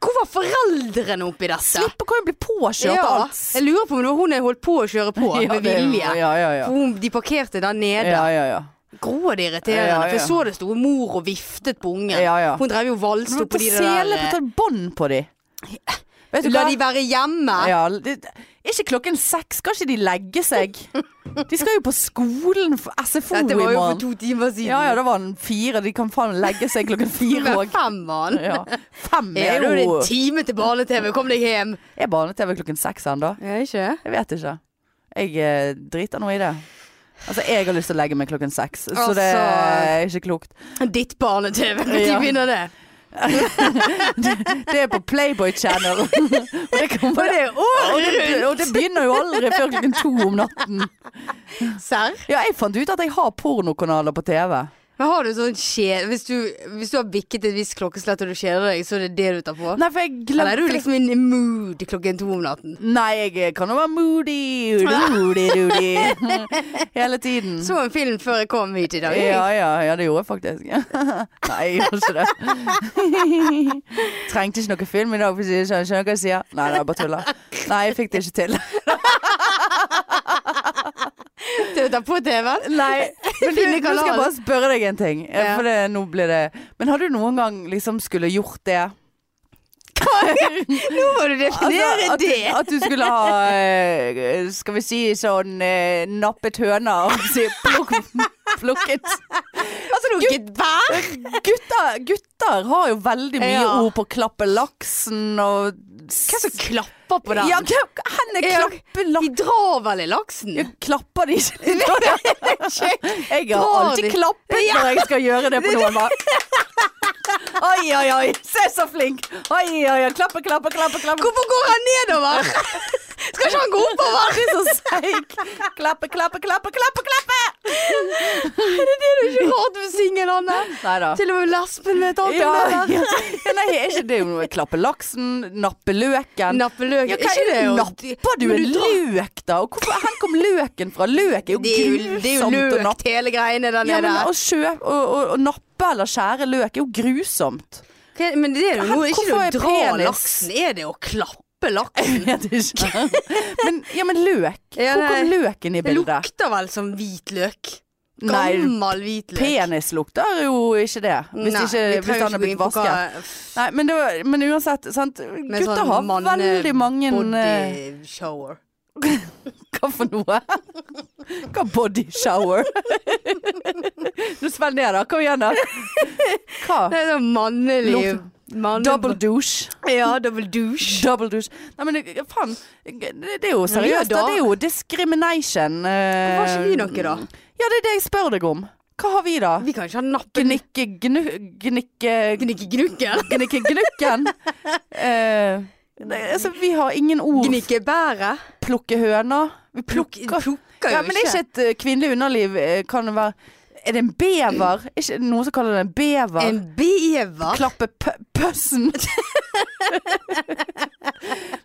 A: Hvor var foreldrene oppi dette?
B: Slipp å kunne bli påkjørt
A: Ja,
B: alt.
A: Jeg lurer på om det var hun jeg holdt på å kjøre på
B: Ja,
A: med
B: det-
A: vilje.
B: Ja, ja, ja.
A: For hun, de parkerte der nede.
B: ja, ja, ja.
A: Grådig irriterende.
B: Ja, ja.
A: For jeg så det sto mor og viftet på ungen.
B: Ja, ja.
A: Hun drev jo og valste
B: Men
A: opp på
B: på
A: de der eh,
B: sele på ta bånd på de. Vet du
A: La
B: hva?
A: de være hjemme.
B: Ja, det, er ikke klokken seks, skal ikke de legge seg? De skal jo på skolen for SFO i
A: Dette var jo for
B: morgen.
A: to timer siden.
B: Ja ja, da var den fire. De kan faen legge seg klokken fire
A: Men
B: òg.
A: fem var han.
B: Ja. Fem
A: Er
B: er
A: det
B: jo
A: en time til barne-TV? Kom deg hjem!
B: Er barne-TV klokken seks ennå?
A: Er ikke?
B: Jeg vet ikke. Jeg eh, driter nå i det. Altså, jeg har lyst til å legge meg klokken seks, så
A: Altså.
B: det er ikke klokt.
A: Ditt barne-TV, når
B: Ja.
A: begynner det?
B: Det er på Playboy Channel. Og det,
A: Og
B: kommer,
A: det er året
B: og det, og det begynner jo aldri før klokken to om natten.
A: rundt, serr.
B: Ja, jeg fant ut at jeg har pornokanaler på TV.
A: Men har du sånn kjede hvis, du- hvis du har bikket et visst klokkeslett og du kjeder deg, så er det det du tar på?
B: Nei, for jeg
A: Eller
B: glemte
A: er du liksom in the mood klokken to om natten?
B: Nei, jeg kan jo være moody, roody, roody. Hele tiden.
A: Så en film før jeg kom hit i dag.
B: Ja, ja, ja, det gjorde jeg faktisk. Nei, jeg gjorde ikke det. Trengte ikke noe film i dag, for å si det sånn. Skjønner du hva jeg sier? Nei, nei, jeg bare tuller. Nei, jeg fikk det ikke til.
A: Det du ta på TV-en?
B: Nei, men du,
A: Finne
B: nå skal jeg
A: kanalen.
B: bare spørre deg en ting. eh,
A: Ja.
B: For det, nå blir det Men har du noen gang liksom skulle gjort det?
A: Nå må du definere
B: Altså, at,
A: det!
B: at du skulle ha eh, Skal vi si sånn eh, nappet høna og si plukk, plukket
A: Plukket bær?
B: gutter, gutter har jo veldig mye
A: Ja.
B: ord på klappe laksen og
A: Hvem som klapper på den?
B: Ja, hvem- hen er
A: Ja.
B: klappe lak-
A: De drar vel i laksen?
B: Ja, Klapper de ikke? Jeg har
A: Drar
B: alltid
A: de?
B: klappet når jeg skal gjøre det på noen. bare. Oi, oi, oi. Se så flink. Oi, oi, oi. Klappe, klappe, klappe. klappe.
A: Hvorfor går han nedover? Skal ikke han gå oppover?
B: Du er så seig. Klappe, klappe, klappe, klappe. klappe.
A: Det er jo ikke rart du er singel, Anne.
B: Nei da.
A: Til og med lesben vet alt
B: Ja,
A: om det der.
B: ja. Ja, Nei, er ikke det jo noe? Klappe laksen, nappe løken.
A: Nappe løk.
B: Ja,
A: er ikke det jo
B: Napper du
A: Men
B: en
A: drar-
B: løk, da? Og hvorfor, hvor kom løken fra? Løk er jo
A: Det er jo, det er jo
B: grusomt å nappe.
A: løk, hele greiene der
B: Ja,
A: nede.
B: men å kjøpe og, og, og nappe eller skjære løk er jo grusomt.
A: Ok, men det er jo
B: Hen-
A: noe ikke
B: hvorfor
A: det
B: er
A: å dra
B: penis?
A: laksen, er det å klappe laksen?
B: Jeg vet ikke. men, ja, men løk.
A: Ja,
B: Hvor kom
A: nei.
B: løken i
A: Det
B: bildet?
A: lukter vel som hvitløk.
B: Nei,
A: Gammel hvitløk.
B: Penis lukter jo ikke det. Hvis,
A: Nei,
B: ikke,
A: vi
B: hvis
A: trenger
B: han er
A: ikke gå inn
B: blitt
A: på hva-
B: vasket. Nei, men, det var, men uansett, sant?
A: Med
B: gutter
A: sånn
B: har
A: manne-
B: veldig mange eh,
A: Body shower.
B: Hva for noe? Hva body shower? Nå svelg ned, da. Kom igjen, da. Hva?
A: Det er sånn mannelig
B: Lov-
A: manne-
B: Double douche.
A: Ja, double douche.
B: Double douche. Nei, men det- faen. Det, det er jo
A: Ja,
B: seriøst.
A: da.
B: da. Det er jo discrimination. eh,
A: Var ikke vi noe, da?
B: Ja, det er det jeg spør deg om. Hva har vi, da?
A: Vi kan ikke ha nappen
B: Gnikke, gnu... Gnikke...
A: Gnikke gnukken.
B: Gnikke gnukken. Eh, nei, altså, vi har ingen ord.
A: Gnikke bæret.
B: Plukke høner. Vi
A: Plukk,
B: plukker
A: plukker jo
B: Ja, men det er ikke et eh, kvinnelig underliv. eh, Kan det være Er det en bever? Er ikke noen som kaller det en bever?
A: Mm. En bever.
B: Klappe pø- pøssen.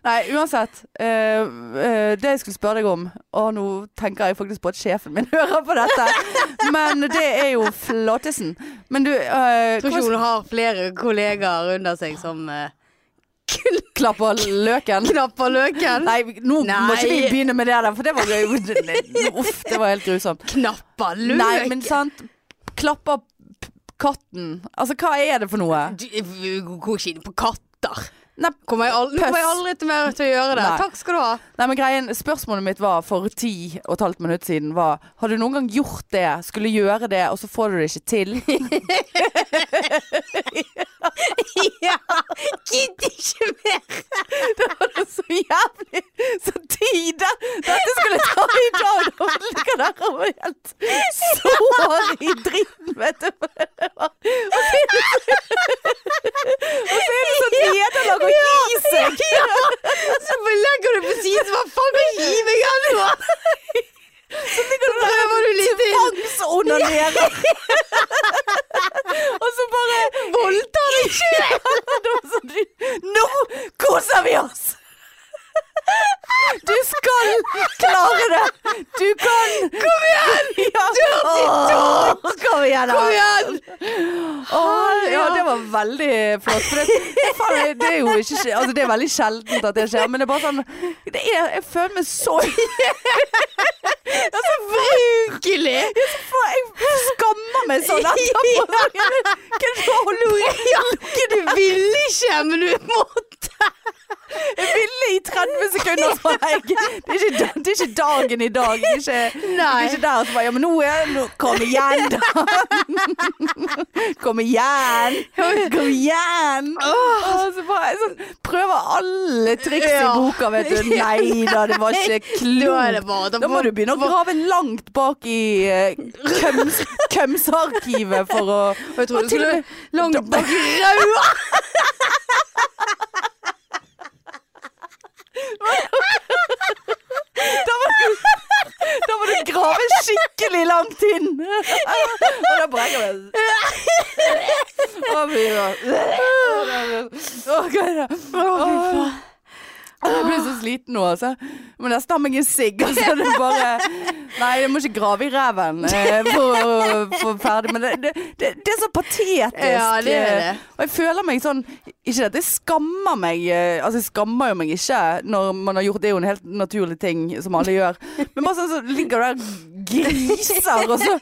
B: Nei, uansett. eh, eh, det jeg skulle spørre deg om Å, nå tenker jeg faktisk på at sjefen min hører på dette. Men det er jo flottesen. Men du eh,
A: Tror
B: hva-
A: ikke hun har flere kollegaer under seg som eh,
B: Klapper løken.
A: knapper løken.
B: Nei, nå må
A: Nei.
B: ikke vi begynne med det der, for det var gøy. Uff, det var helt grusomt.
A: Knapper løk.
B: Nei, men sant. Klapper p- katten. Altså, hva er det for noe?
A: Du, vi går ikke inn på katter.
B: Nei,
A: Kommer jeg aldri, nå kommer jeg
B: Pøss.
A: aldri til mer til å gjøre det.
B: Nei.
A: Takk skal du ha.
B: Nei, men greien, Spørsmålet mitt var for ti og et halvt minutt siden var Har du noen gang gjort det, skulle gjøre det, og så får du det ikke til?
A: Ja, gidd ikke mer.
B: så jævlig Så tide! Dette skulle jeg ta i dag, og det ligger der og er helt sår i dritten, vet du. Og så er det så nederlag å gi seg.
A: Så bare legger du på siden, så bare faen kan ikke gi meg ennå. Så prøver du litt inn.
B: Tvangsonanerer. Og så bare voldtar deg sjøl. Nå koser vi oss! Du skal klare det! Du kan Kom igjen! Ja. Åh, Kom igjen, da.
A: Kom igjen.
B: Åh, ja, det var veldig flott. For det, faen, det- det er jo ikke skje- Altså, det er veldig sjeldent at det skjer, men det er bare sånn det er, Jeg føler meg så Altså,
A: Brukelig.
B: for jeg skammer meg sånn etterpå. Hva er det du holder på med?
A: Ja, du ville ikke, men du måtte.
B: Jeg ville i 30 sekunder, så var jeg det er, ikke, da- det er ikke dagen i dag. Det er ikke, det er
A: Nei.
B: ikke der. Så bare, ja, men nå er jeg nå- Kom igjen, da. Kom igjen. Kom igjen. Og så bare jeg sånn, prøver alle triks i
A: Ja.
B: boka, vet du. Nei da, det var ikke
A: Da er det
B: klokt.
A: bare å ta
B: Da må
A: på-
B: du begynne å grave langt bak i eh, køms, kømsarkivet for å
A: Og jeg tror
B: Og
A: du
B: til og
A: skulle
B: med-
A: langt
B: Da-
A: bak raua.
B: Da må du, da må du grave skikkelig langt inn. Og da brekker vi Å, fy faen. Å, hva er det? Å, Jeg blir så sliten nå, altså. Men der stammer jeg en sigg, altså. Det er bare Nei, jeg må ikke grave i ræven eh, for å få ferdig. Men det, det, det, det er så patetisk. eh,
A: Ja, det er det.
B: Og jeg føler meg sånn Ikke at jeg skammer meg eh, Altså jeg skammer jo meg ikke Når man har gjort Det er jo en helt naturlig ting Som alle gjør Men bare sånn så ligger du der griser, og så,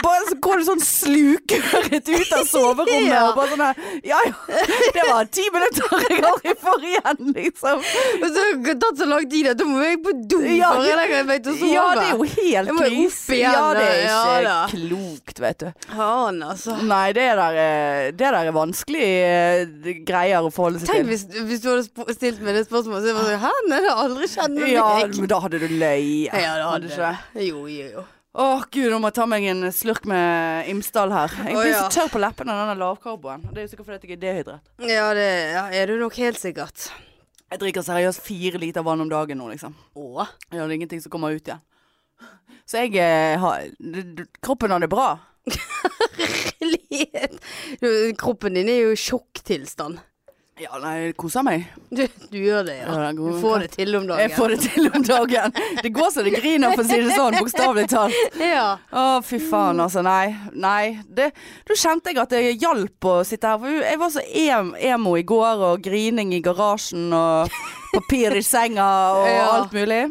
B: bare, så går det sånn slukøret ut av soverommet.
A: Ja.
B: Og bare sånn her Ja ja, det var ti minutter jeg aldri får igjen, liksom.
A: Og så har det tatt så lang tid at da må jeg på do
B: Ja,
A: før jeg legger meg til å sove.
B: Ja, det er jo helt
A: Jeg må jo opp
B: krise. eh,
A: igjen,
B: Ja, det er
A: da. Ja,
B: ikke
A: da.
B: klokt, vet du.
A: Faen, altså.
B: Nei, det der er, det der er vanskelig eh, greier å forholde seg
A: Tenk
B: til.
A: hvis, hvis du hadde sp- stilt meg det spørsmålet, så jeg var sånn Hæ, nei, det har aldri skjedd med
B: Ja,
A: meg.
B: men da hadde du løyet.
A: Ja, det hadde
B: du
A: det. Jo, jo, jo.
B: Å gud, nå må jeg ta meg en slurk med Imsdal her. Jeg
A: Å,
B: blir
A: ja.
B: så tørr på leppene av denne lavkarboen. Det er jo sikkert fordi at jeg er dehydrert.
A: Ja, det ja, er du nok helt sikkert.
B: Jeg drikker seriøst fire liter vann om dagen nå, liksom.
A: Å?
B: Ja, det er ingenting som kommer ut igjen. Så jeg eh, har d- d- Kroppen har det bra.
A: Herlighet. Du, Kroppen din er jo i sjokktilstand.
B: Ja, nei, jeg koser meg.
A: Du, du gjør det, ja.
B: Ja, det er
A: Du
B: god-
A: får det til om dagen.
B: Jeg får det til om dagen. Det går så det griner, for å si det sånn, bokstavelig talt.
A: Ja.
B: Å, fy faen, altså. Nei. Nei. Det, da kjente jeg at det hjalp å sitte her. For jeg var så em emo i går, og grining i garasjen, og papir i senga, og
A: Ja.
B: alt mulig.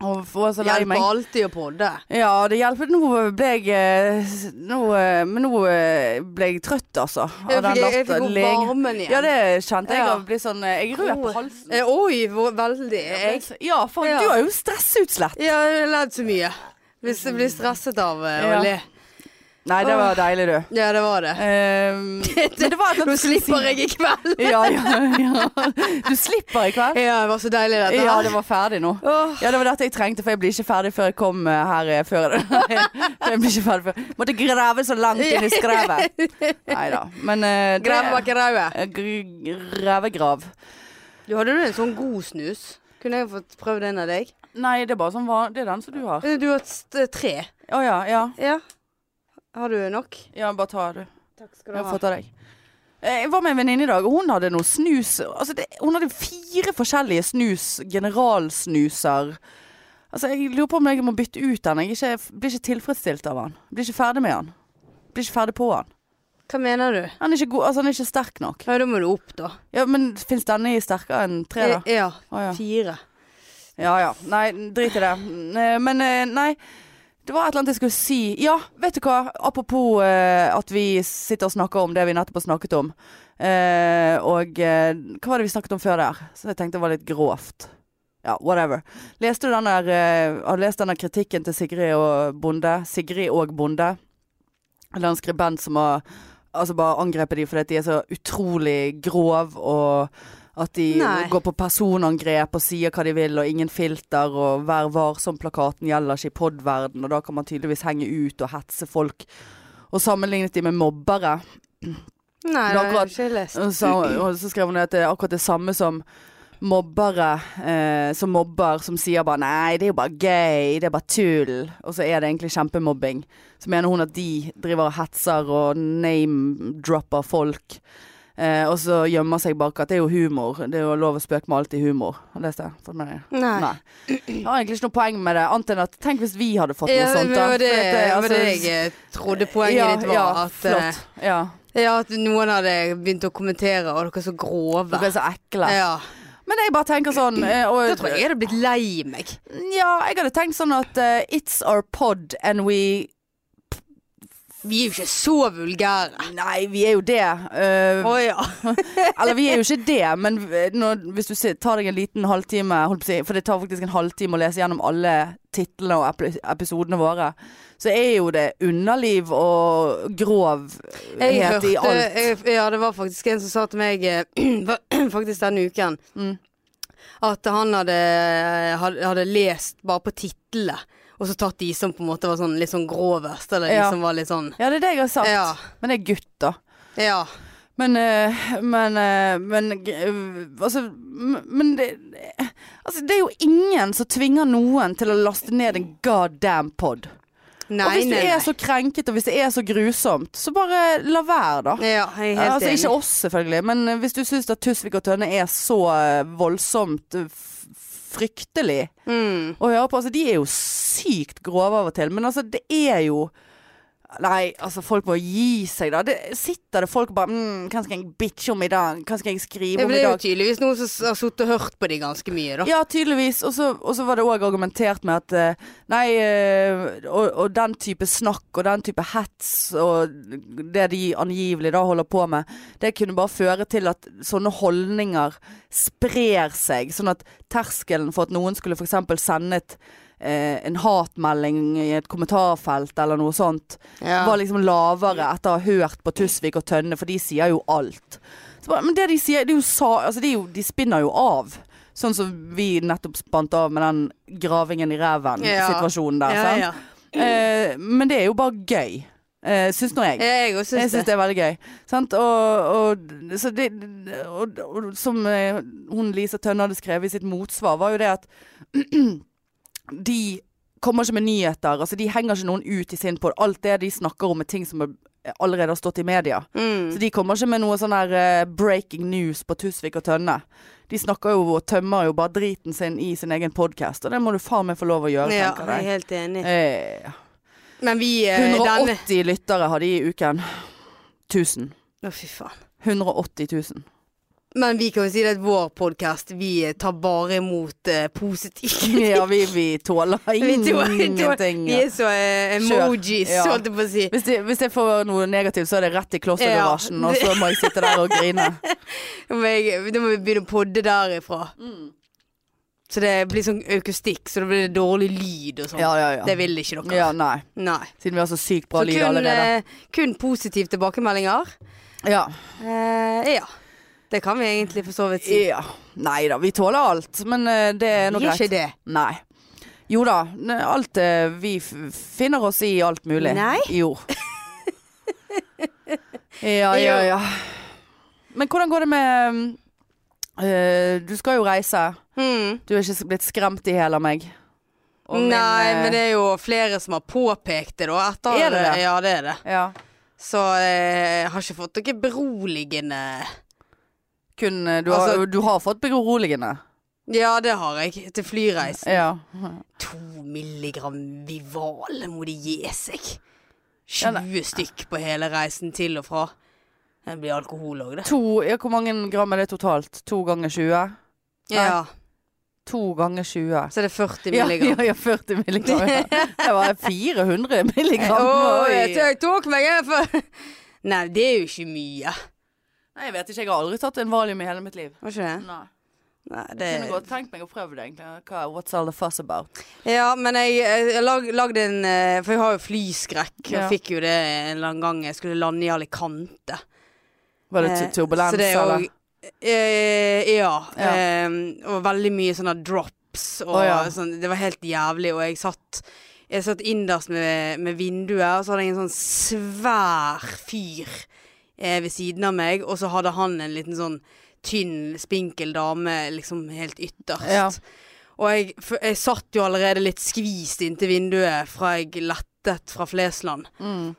B: Og var så lei
A: Hjelper
B: meg.
A: alltid å podde.
B: Ja, det hjelper. Nå ble jeg eh, s- nå, eh, Men nå eh, ble jeg trøtt, altså. av
A: Jeg
B: den
A: fikk, jeg fikk
B: latter-
A: opp
B: leg-
A: varmen igjen.
B: Ja, det kjente jeg.
A: Ja.
B: og ble sånn, eh, jeg rød på halsen.
A: Eh, Oi, hvor veldig. Jeg,
B: Ja, faen,
A: Ja.
B: du har jo stressutslett.
A: ja, jeg har ledd så mye. Hvis jeg blir stresset av eh, å
B: Ja.
A: le.
B: Nei, det var deilig, du.
A: Ja, det var det.
B: Eh, men det var et
A: Nå
B: sånt-
A: slipper jeg i kveld.
B: ja, ja, ja. Du slipper i kveld.
A: Ja, det var så deilig dette
B: Ja,
A: her.
B: det var ferdig nå.
A: Åh,
B: Ja, det var dette jeg trengte, for jeg blir ikke ferdig før jeg kom eh, her eh, før. For jeg blir ikke ferdig før. Måtte grave så langt inn i skrevet. Nei da. Men eh, det-
A: Greve bak i rauet.
B: Eh, gr- Grevegrav.
A: Du hadde du en sånn god snus? Kunne jeg fått prøvd en av deg?
B: Nei, det er bare sånn van- Det er den som du har. Å
A: Eh, Du har st- tre.
B: ja, ja.
A: Ja. Har du nok?
B: Ja, bare ta du.
A: Takk skal
B: Jeg har fått av deg. Eh, Jeg var med en venninne i dag, og hun hadde noe snus altså det, Hun hadde fire forskjellige snus, generalsnuser. Altså, jeg lurer på om jeg må bytte ut den. Jeg er ikke, blir ikke tilfredsstilt av den. Blir ikke ferdig med den. Blir ikke ferdig på den.
A: Hva mener du?
B: Den er ikke, god, altså, den er ikke sterk nok.
A: Ja, da må du opp, da.
B: Ja, Men fins denne i sterkere enn tre, da?
A: Eh, Ja.
B: Å, ja.
A: Fire.
B: ja ja. Nei, drit i det. Eh, Men eh, nei. Det var et eller annet jeg skulle si. Ja, vet du hva. Apropos eh, at vi sitter og snakker om det vi nettopp har snakket om. Eh, og eh, hva var det vi snakket om før der? Så jeg tenkte det var litt grovt. Ja, whatever. Leste du den der eh, Har du lest den der kritikken til Sigrid og Bonde? Sigrid og Bonde. Eller en skribent som har altså bare angrepet dem fordi at de er så utrolig grov og at de
A: Nei.
B: går på personangrep og sier hva de vil, og ingen filter, og 'vær varsom'-plakaten gjelder ikke i podverden, og da kan man tydeligvis henge ut og hetse folk. Og sammenlignet de med mobbere.
A: Nei,
B: Det
A: det
B: var
A: har jeg ikke lest.
B: Og Så, og så skrev hun at det er akkurat det samme som mobbere eh, som mobber, som sier bare 'nei, det er jo bare gøy, det er bare tull', og så er det egentlig kjempemobbing. Så mener hun at de driver og hetser og name-dropper folk. Eh, og så gjemmer seg bak at det er jo humor. Det er jo lov å spøke med alt i humor. Har du lest det? Fått med deg det?
A: Nei.
B: Nei. Jeg har egentlig ikke noe poeng med det, annet enn at tenk hvis vi hadde fått noe
A: Ja, men
B: sånt.
A: det
B: da.
A: var det,
B: For at
A: det, var det
B: altså,
A: jeg eh, trodde poenget
B: ja,
A: ditt var.
B: ja,
A: at, eh,
B: flott. Ja.
A: ja, at noen hadde begynt å kommentere, og dere er så grove.
B: Dere er så ekle.
A: Ja.
B: Men jeg bare tenker sånn eh, og,
A: Da tror jeg jeg hadde blitt lei meg.
B: Ja, jeg hadde tenkt sånn at eh, It's our pod and we
A: Vi er jo ikke så vulgære.
B: Nei, vi er jo det. eh,
A: Å ja.
B: eller vi er jo ikke det, men v- når, hvis du si- tar deg en liten halvtime holdt på å si, For det tar faktisk en halvtime å lese gjennom alle titlene og epi- episodene våre. Så er jo det underliv og
A: Jeg
B: grovhet
A: hørte eh,
B: i alt.
A: jeg, Ja, det var faktisk en som sa til meg eh, faktisk denne uken
B: Mm.
A: at han hadde, hadde, hadde lest bare på titlene, og så tatt de som på en måte var sånn litt sånn grovest, eller de
B: Ja.
A: som var litt sånn
B: Ja, det er det jeg har sagt.
A: Ja.
B: Men det er gutt, da.
A: Ja.
B: Men eh, Men eh, Men eh, Altså m- Men det eh, Altså, det er jo ingen som tvinger noen til å laste ned en goddamn pod.
A: Nei,
B: og hvis du
A: nei,
B: er
A: nei.
B: så krenket, og hvis det er så grusomt, så bare la være, da.
A: Ja, jeg er helt
B: Altså,
A: enig.
B: ikke oss, selvfølgelig, men eh, hvis du syns at Tusvik og Tønne er så eh, voldsomt eh, f- fryktelig
A: Mm.
B: å høre på. Altså, de er jo sykt grove av og til, men altså, det er jo Nei, altså folk må gi seg da. Det, sitter det folk og bare mm, Hva skal jeg bitche om i dag? Hva skal jeg skrive
A: Det
B: om i
A: ble jo
B: dag?
A: tydeligvis noen som s- har sittet og hørt på de ganske mye, da.
B: Ja, tydeligvis. Og så og så var det òg argumentert med at eh, Nei, eh, og, og den type snakk og den type hets og det de angivelig da holder på med, det kunne bare føre til at sånne holdninger sprer seg. Sånn at terskelen for at noen skulle f.eks. sende et, eh, en hatmelding i et kommentarfelt eller noe sånt,
A: Ja.
B: var liksom lavere etter å ha hørt på Tusvik og Tønne, for de sier jo alt. Så bare, men det de sier, det er jo sa... Altså, de, er jo, de spinner jo av. Sånn som vi nettopp spant av med den gravingen i ræven-situasjonen der.
A: ja, Mm.
B: sant?
A: ja.
B: Eh, men det er jo bare gøy, eh, syns nå jeg.
A: Jeg òg
B: Jeg
A: syns
B: syns
A: det.
B: det er veldig gøy. Sant? Og, og, så det, og, og som eh, hun Lisa Tønne hadde skrevet i sitt motsvar, var jo det at de kommer ikke med nyheter. Altså, de henger ikke noen ut i sin på Alt det de snakker om, er ting som er- allerede har stått i media.
A: Mm.
B: Så de kommer ikke med noe sånn her eh, breaking news på Tusvik og Tønne. De snakker jo og tømmer jo bare driten sin i sin egen podkast, og det må du faen meg få lov å gjøre,
A: Ja, jeg
B: tenker
A: er
B: jeg.
A: helt enig.
B: Eh,
A: Men vi eh, denne
B: 180 lyttere har de i uken. 1000.
A: Å, fy faen.
B: 180 000.
A: Men vi kan jo si det at vår podkast, vi eh, tar bare imot eh, positivt.
B: Ja, vi, vi tåler
A: Vi, tror,
B: ingenting.
A: vi er så eh,
B: Kjør.
A: emojis,
B: Ja.
A: holdt jeg på å si.
B: Hvis, det- hvis jeg får noe negativt, så er det rett i klostergarasjen,
A: Ja,
B: og
A: det-
B: så må jeg sitte der og grine.
A: Da må, jeg, da må vi begynne å podde derifra.
B: Mm.
A: Så det blir sånn akustikk, så det blir dårlig lyd og sånn.
B: Ja, ja,
A: Det
B: ja.
A: vil ikke dere.
B: ja nei.
A: Nei.
B: Siden vi har så sykt bra
A: Så
B: lyd
A: kun,
B: allerede.
A: eh, kun positive tilbakemeldinger.
B: Ja.
A: Eh, ja. Det kan vi egentlig for så vidt si.
B: ja. Nei da, vi tåler alt, men eh, det er nå greit.
A: Gjør ikke det.
B: Nei. Jo da, ne- alt eh, Vi f finner oss i alt mulig.
A: Nei.
B: Jo. Ja, ja, ja. Men hvordan går det med um, eh, Du skal jo reise.
A: Mm.
B: Du er ikke blitt skremt i hjel av meg. Og min,
A: Nei,
B: eh,
A: men det er jo flere som har påpekt det, da. Etter,
B: Er det det?
A: Ja, det er det.
B: ja.
A: Så eh, jeg har ikke fått noe beroligende
B: Kun, eh, du, har,
A: Altså-
B: du har fått beroligende.
A: Ja, det har jeg. Til flyreisen.
B: Ja.
A: To milligram Vival må de gi seg.
B: Ja, nei.
A: 20 stykk på hele reisen til og fra. Det blir alkohol òg, det.
B: To, ja, hvor mange gram er det totalt? To ganger 20? Nei.
A: Ja,
B: To ganger 20.
A: Så det er 40
B: Ja,
A: milligram.
B: ja, ja, 40 milligram. Ja. Det var 400 milligram.
A: Åh,
B: Oi.
A: jeg, jeg tok meg en for Nei, det er jo ikke mye.
B: Nei, jeg vet ikke. Jeg har aldri tatt en valium i hele mitt liv.
A: Var ikke det?
B: Nei.
A: Nei, det
B: Kunne godt tenkt meg å prøve det, egentlig. Hva, what's all the fuss about?
A: Ja, men jeg, jeg lag, lagde en eh, For jeg har jo flyskrekk.
B: Ja.
A: Jeg fikk jo det en eller annen gang jeg skulle lande i Alicante.
B: Var det
A: Eh,
B: tu- turbulens,
A: så det er jo-
B: eller?
A: Eh, ja.
B: Ja.
A: eh, og veldig mye sånne drops og
B: Å, ja.
A: sånn. Det var helt jævlig, og jeg satt jeg satt innerst med, med vinduet, og så hadde jeg en sånn svær fyr eh, ved siden av meg, og så hadde han en liten sånn tynn, spinkel dame liksom helt ytterst.
B: Ja.
A: Og jeg, f- jeg satt jo allerede litt skvist inntil vinduet fra jeg lettet fra Flesland.
B: Mm.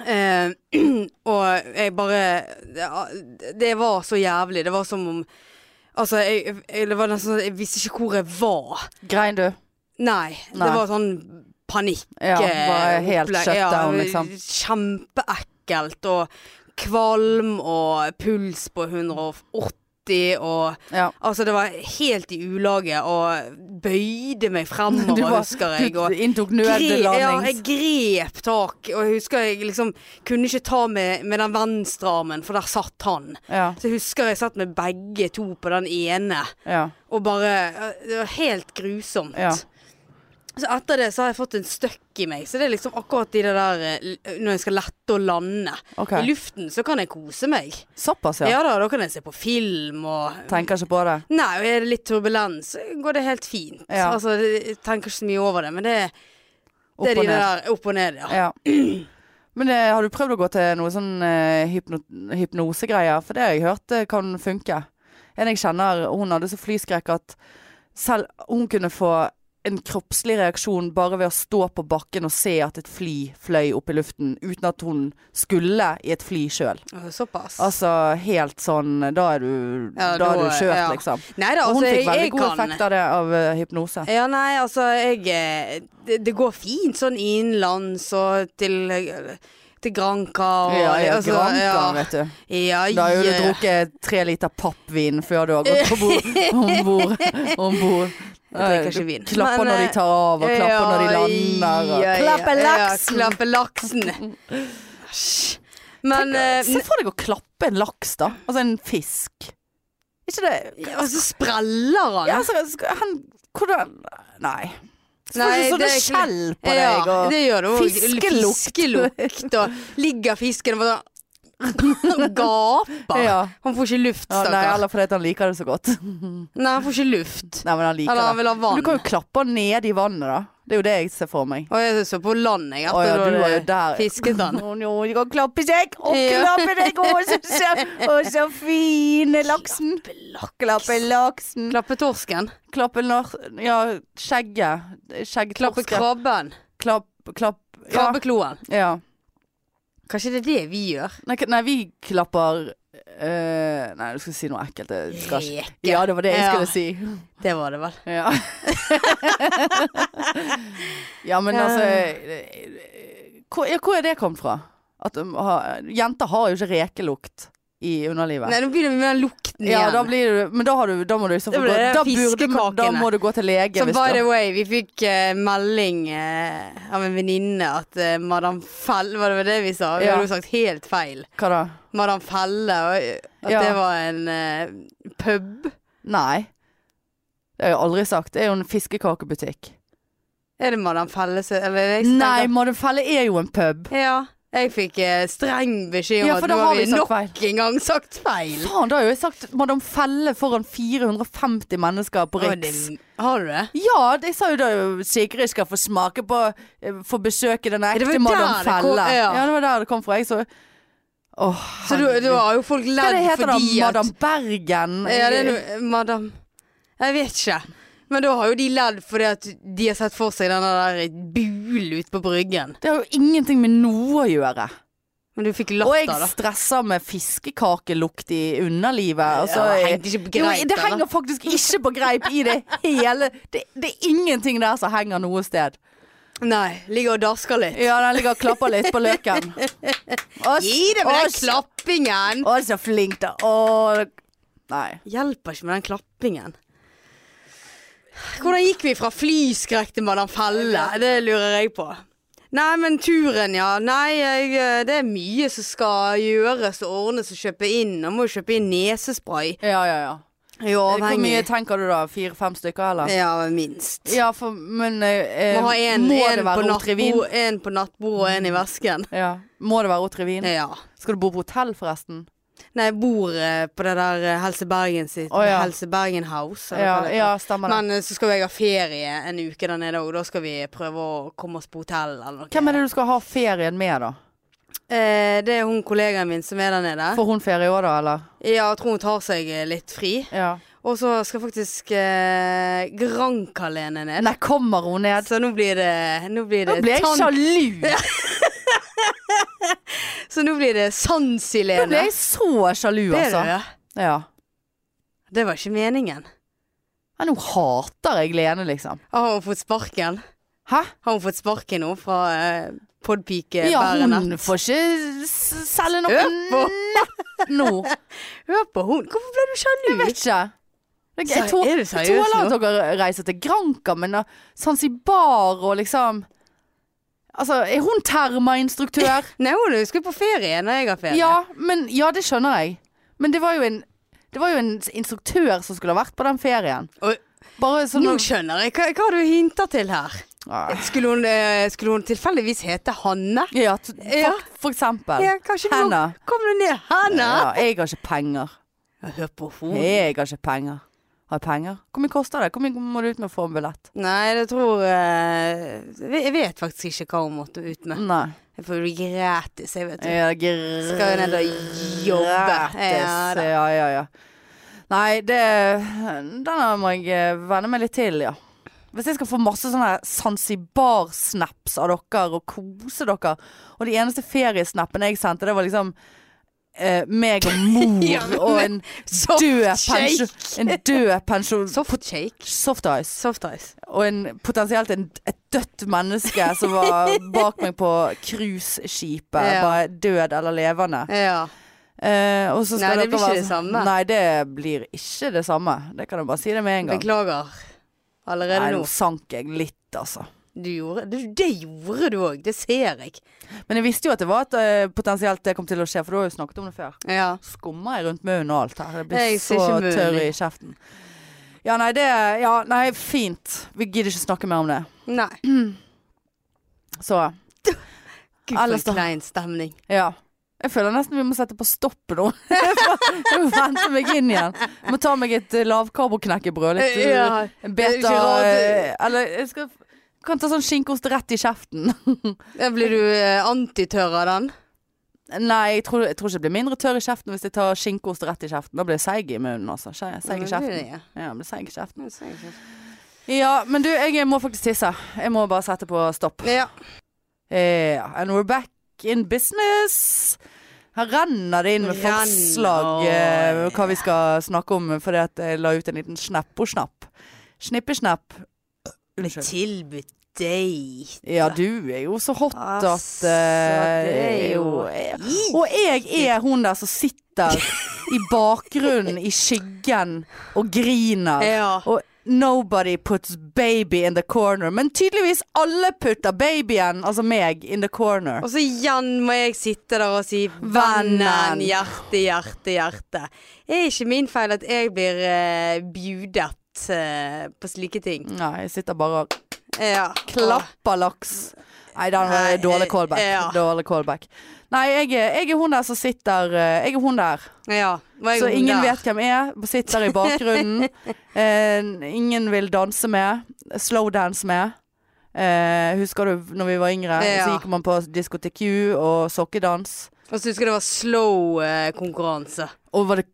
A: Eh, og jeg bare ja, Det var så jævlig. Det var som om Altså, jeg, jeg, det var nesten, sånn- jeg visste ikke hvor jeg var.
B: Grein du?
A: Nei. Det
B: Nei.
A: var sånn panikk.
B: Ja, bare helt
A: opplegg.
B: shutdown,
A: Ja,
B: liksom.
A: Kjempeekkelt. Og kvalm og puls på 180 og
B: Ja.
A: Altså, det var helt i ulage og bøyde meg fremover,
B: Du var-
A: husker jeg. Og,
B: Du inntok
A: Gre- Ja, jeg
B: nødlandings...
A: grep tak, og jeg husker jeg liksom kunne ikke ta med, med den venstre armen, for der satt han.
B: Ja,
A: Så jeg husker jeg satt med begge to på den ene,
B: ja.
A: og bare Det var helt grusomt.
B: Ja.
A: Så etter det så har jeg fått en støkk i meg, så det er liksom akkurat i det der eh, l- når jeg skal lette og lande.
B: Ok.
A: I luften så kan jeg kose meg.
B: Såpass,
A: Ja.
B: ja.
A: da, da kan jeg se på film og
B: Tenker ikke på det.
A: Nei, og er det litt turbulens, så går det helt fint.
B: Ja.
A: Altså, jeg tenker ikke så mye over det, men det,
B: Opp
A: det er
B: og
A: de
B: ned.
A: der opp og ned, ja.
B: Ja. Men eh, har du prøvd å gå til noe sånn eh, hypno hypnosegreier? For det har jeg hørt eh, kan funke. En jeg kjenner, hun hadde så flyskrekk at selv hun kunne få en kroppslig reaksjon bare ved å stå på bakken og se at et fly fløy opp i luften, uten at hun skulle i et fly sjøl.
A: Å, Såpass.
B: Altså helt sånn Da er du,
A: Ja,
B: da er
A: da-
B: du kjørt,
A: ja.
B: liksom.
A: Nei da,
B: Og hun
A: altså,
B: fikk
A: jeg,
B: veldig
A: jeg
B: god
A: kan
B: effekt av det, av eh, hypnose.
A: Ja, nei, altså, jeg eh, Det, det går fint sånn innenlands og til eh, til Granca og
B: Ja, ja,
A: altså,
B: Granca,
A: ja.
B: vet du.
A: Ja,
B: Da har jo du
A: ja.
B: drukket tre liter pappvin før du har gått på bord. Om bord. Om bord.
A: Jeg drikker ikke vin.
B: Du klapper
A: Men,
B: når de
A: eh,
B: tar av, og klapper når de lander. Og.
A: Ja, ja,
B: Klapper
A: ja,
B: laksen!
A: klappe laksen. Æsj. Men eh,
B: Se for deg å klappe en laks, da. Altså en fisk. Ikke det
A: ja, Og så spreller han.
B: ja, altså, skal han Hvordan Nei. Så får
A: Nei,
B: du sånne
A: det er ikke-
B: skjell på deg.
A: Ja,
B: Og,
A: det gjør det. Og
B: fiskelukt.
A: Fiskelukt. Og ligger fisken og bare sånn Gaper.
B: Ja.
A: Han får ikke luft,
B: ja, nei,
A: stakkar.
B: eller fordi at han liker det så godt.
A: Nei, han får ikke luft.
B: Nei, men han liker
A: Eller han
B: det.
A: vil ha
B: Men du kan
A: vann.
B: jo klappe han ned i vannet, da. Det er jo det jeg ser for meg.
A: Og jeg så på land, jeg.
B: Å ja,
A: etter
B: du
A: da
B: var jo
A: det-
B: der.
A: Fisket han.
B: Å, nå, du kan klappe seg, og
A: Ja.
B: klappe deg, å, så, så, å, så fine laksen. Klappe laksen.
A: Klappe torsken.
B: Klappe nar... Ja, skjegget.
A: Klappe
B: Skjeggtorsken.
A: krabben.
B: Klapp, klapp. Ja.
A: Krabbekloen.
B: ja.
A: Kanskje det er det vi gjør?
B: Nei, k- nei, vi klapper eh, Nei, du skal si noe ekkelt. Jeg skal ikke.
A: Reke.
B: Ja, det var det jeg
A: Ja.
B: skulle si.
A: Det var det vel.
B: Ja, ja men
A: Ja.
B: altså eh, hvor, ja, hvor er det kommet fra? At um, ha, jenter har jo ikke rekelukt i underlivet.
A: Nei, nå begynner vi med den lukten igjen.
B: Ja, da blir du, men da, har du, da må du i så fall
A: Da
B: gå
A: blir det
B: da, burde, da
A: fiskekakene.
B: må du gå til lege.
A: Så
B: hvis
A: by
B: du-
A: the way, vi fikk eh, melding eh, av en venninne at eh, Madam Fell Var det det vi sa? Vi
B: Ja.
A: hadde jo sagt helt feil.
B: Hva da?
A: Madam Felle, og eh, at
B: Ja.
A: det var en eh, pub.
B: Nei. Det har jeg aldri sagt. Det er jo en fiskekakebutikk.
A: Er det Madam Felle som Eller er det jeg som
B: Nei,
A: tenker-
B: Madefelle er jo en pub.
A: Ja. Jeg fikk eh, streng beskjed om
B: Ja, for
A: at
B: da
A: nå
B: har
A: har
B: vi
A: vi
B: sagt
A: nok
B: feil.
A: en gang sagt feil.
B: Faen, da har jo jeg sagt Madam Felle foran 450 mennesker på
A: Å,
B: Riks.
A: det- Har du det?
B: Ja, jeg sa jo da Sigrid skal få smake på eh, Få besøke den
A: det var
B: ekte
A: der
B: Madam
A: det kom-
B: Felle.
A: ja.
B: Ja, det var der det kom fra. Jeg så Åh,
A: Så du,
B: herregud.
A: du har jo folk
B: Hva er
A: ledd
B: det heter da?
A: fordi at
B: Madam Bergen?
A: Ja, det er noe Madam Jeg vet ikke. Men da har jo de ledd fordi at de har sett for seg den der bulen ute på bryggen.
B: Det har jo ingenting med noe å gjøre.
A: Men du fikk
B: Og jeg
A: latter, da.
B: stresser med fiskekakelukt i underlivet. Altså,
A: Ja,
B: jeg-
A: det hengte ikke på
B: Jo,
A: greit,
B: det
A: eller?
B: henger faktisk ikke på greip i det hele. Det, det er ingenting der som henger noe sted.
A: Nei. Ligger og dasker litt.
B: Ja, den ligger og klapper litt på løken. Å,
A: Gi det med
B: å,
A: den klappingen!
B: Å, så flink, da. Å Nei.
A: Hjelper ikke med den klappingen. Hvordan gikk vi fra flyskrekk til Madam Felle? Det lurer jeg på. Nei, men turen, ja. Nei, jeg, eh, det er mye som skal gjøres og ordnes og kjøpe inn. Man må jo kjøpe inn nesespray.
B: Ja, ja, ja.
A: Jeg er jo
B: Hvor mye
A: avhengig.
B: tenker du da? Fire-fem stykker, eller?
A: Ja, minst.
B: Ja, for, men eh,
A: Må ha en,
B: må
A: en,
B: det
A: på
B: være Otrivin?
A: nattbord, en på nattbordet og en i vesken.
B: Ja. Må det være Otrivin?
A: Ja.
B: Skal du bo på hotell, forresten?
A: Nei, jeg bor eh, på det der eh, Helse Bergen sitt.
B: Å, ja.
A: Helse Bergen House. eller hva
B: Ja,
A: det heter.
B: ja stemmer det.
A: Men eh, så skal jo jeg ha ferie en uke der nede òg. Da skal vi prøve å komme oss på hotell eller noe.
B: Hvem er det du skal ha ferien med, da?
A: Eh, det er hun kollegaen min som er der nede.
B: Får hun ferie òg, da, eller?
A: Ja, jeg tror hun tar seg eh, litt fri.
B: Ja.
A: Og så skal faktisk eh, Grankalene ned.
B: Nei, kommer hun ned?
A: Så nå blir det Nå blir
B: Nå
A: det,
B: ble jeg
A: tan-
B: sjalu!
A: Så nå blir
B: Nå
A: det
B: ble
A: Sansilene.
B: jeg så sjalu,
A: Det, er
B: altså.
A: det.
B: Ja.
A: det var ikke meningen.
B: Ja, nå hater jeg Lene, liksom.
A: Har hun fått sparken?
B: Hæ?
A: Har hun fått sparken nå fra eh, podpike
B: Ja, hun
A: Bærenett?
B: får ikke s- selge noe
A: Øp og-
B: nett nå.
A: Hør på hun! Hvorfor ble du sjalu?
B: Jeg vet ikke. Jeg, jeg,
A: Seri-
B: tå-
A: er du
B: jeg
A: seriøs
B: tåler
A: nå?
B: at dere reiser til Granca, men uh, Zanzibar og liksom Altså, er hun termainstruktør?
A: Nei, hun skal jo på ferie når jeg har ferie.
B: Ja, men, ja, det skjønner jeg. Men det var jo en det var jo en instruktør som skulle ha vært på den ferien.
A: Og-
B: Bare sånn
A: Nå skjønner jeg hva, hva du hinter til her.
B: Ah.
A: Skulle hun, eh, skulle hun tilfeldigvis hete Hanne?
B: Ja, t- for,
A: Ja.
B: for eksempel.
A: Ja, kanskje du
B: Hanne.
A: Kom du ned, Hanne?
B: Ja, jeg har ikke penger.
A: Hør på henne.
B: Jeg har ikke penger. Har jeg penger? Hvor mye koster det? Hvor mye må du ut med å få en billett?
A: Nei, det tror eh, Jeg vet faktisk ikke hva hun måtte ut med.
B: Nei.
A: Jeg får bli gratis, jeg, vet du.
B: Jeg
A: Skal jo ned og jobbe. Ja,
B: Gratis.
A: da.
B: Ja, ja, ja. Nei, det Denne må jeg eh, venne meg litt til, ja. Hvis jeg skal få masse sånne Zanzibar-snaps av dere og kose dere Og de eneste feriesnappene jeg sendte, det var liksom eh, meg og mor
A: Ja, men-
B: og en
A: Soft
B: død
A: shake.
B: pensjon En død pensjon
A: Soft shake.
B: Soft ice.
A: Soft ice.
B: Og en, potensielt en, et dødt menneske som var bak meg på cruiseskipet.
A: Ja.
B: Bare død eller levende.
A: Ja.
B: Eh, og så skal
A: Nei,
B: dere
A: det blir ikke
B: være
A: det
B: sånn-
A: samme.
B: Nei, det blir ikke det samme. Det kan jeg bare si det med en gang.
A: Beklager. Allerede
B: Nei, nå
A: nå.
B: sank jeg litt, altså.
A: Du gjorde, du, det gjorde du òg. Det ser jeg.
B: Men jeg visste jo at det var et eh, potensielt det kom til å skje, for du har jo snakket om det før.
A: Ja.
B: Skummer jeg rundt munnen og alt her. Jeg blir
A: Jeg ser
B: så
A: ikke munnen.
B: tørr i kjeften. Ja, nei, det Ja, nei, fint. Vi gidder ikke snakke mer om det.
A: Nei.
B: Så
A: Gud, for
B: Ellers da.
A: en klein stemning.
B: Ja. Jeg føler nesten vi må sette på stopp nå. Jeg må hente meg inn igjen. Jeg må ta meg et eh, lavkarboknekkebrød. Litt eh,
A: Ja. Det er
B: beta
A: ikke rart
B: eh,
A: det-
B: Eller jeg skal kan ta sånn skinkost rett i kjeften.
A: Ja, Blir du eh, antitørr av den?
B: Nei, jeg tror, jeg tror ikke jeg blir mindre tørr i kjeften hvis jeg tar skinkost rett i kjeften. Da blir jeg seig i munnen, altså. Seig seig i
A: Ja, det blir
B: kjeften.
A: det, ja.
B: Ja, jeg blir seig i kjeften.
A: Det ser jeg ikke.
B: Ja, men du, jeg må faktisk tisse. Jeg må bare sette på stopp.
A: Ja.
B: Ja, Eh, and we're back in business. Her renner det inn med
A: Renner.
B: forslag eh, hva vi skal snakke om, eh, fordi at jeg la ut en liten snapp og snapp. Snippesnapp. Unnskyld.
A: Tilbudt date.
B: Ja, du er jo så hot at
A: Altså,
B: eh,
A: det er jo-
B: jeg- Og jeg er hun der som sitter i bakgrunnen i skyggen og griner.
A: Ja.
B: Og nobody puts baby in the corner. Men tydeligvis alle putter babyen, altså meg, in the corner.
A: Og så igjen må jeg sitte der og si
B: Vennen.
A: vennen, hjerte, hjerte, hjerte. Det er ikke min feil at jeg blir eh, bjudet eh, på slike ting.
B: Nei, jeg sitter bare og
A: Ja.
B: klapper laks. Nei, den var
A: Nei,
B: dårlig
A: eh,
B: callback.
A: ja.
B: Dårlig callback. Nei, jeg er, jeg er hun der som sitter eh, Jeg er hun der.
A: Ja. Var jeg
B: Så
A: god
B: ingen
A: der?
B: vet hvem er. Sitter i bakgrunnen. eh, ingen vil danse med. Slowdance med. Eh, husker du når vi var yngre?
A: Ja.
B: Så gikk man på diskotek Q og sokkedans.
A: Og så husker jeg det var slow-konkurranse.
B: Og var det,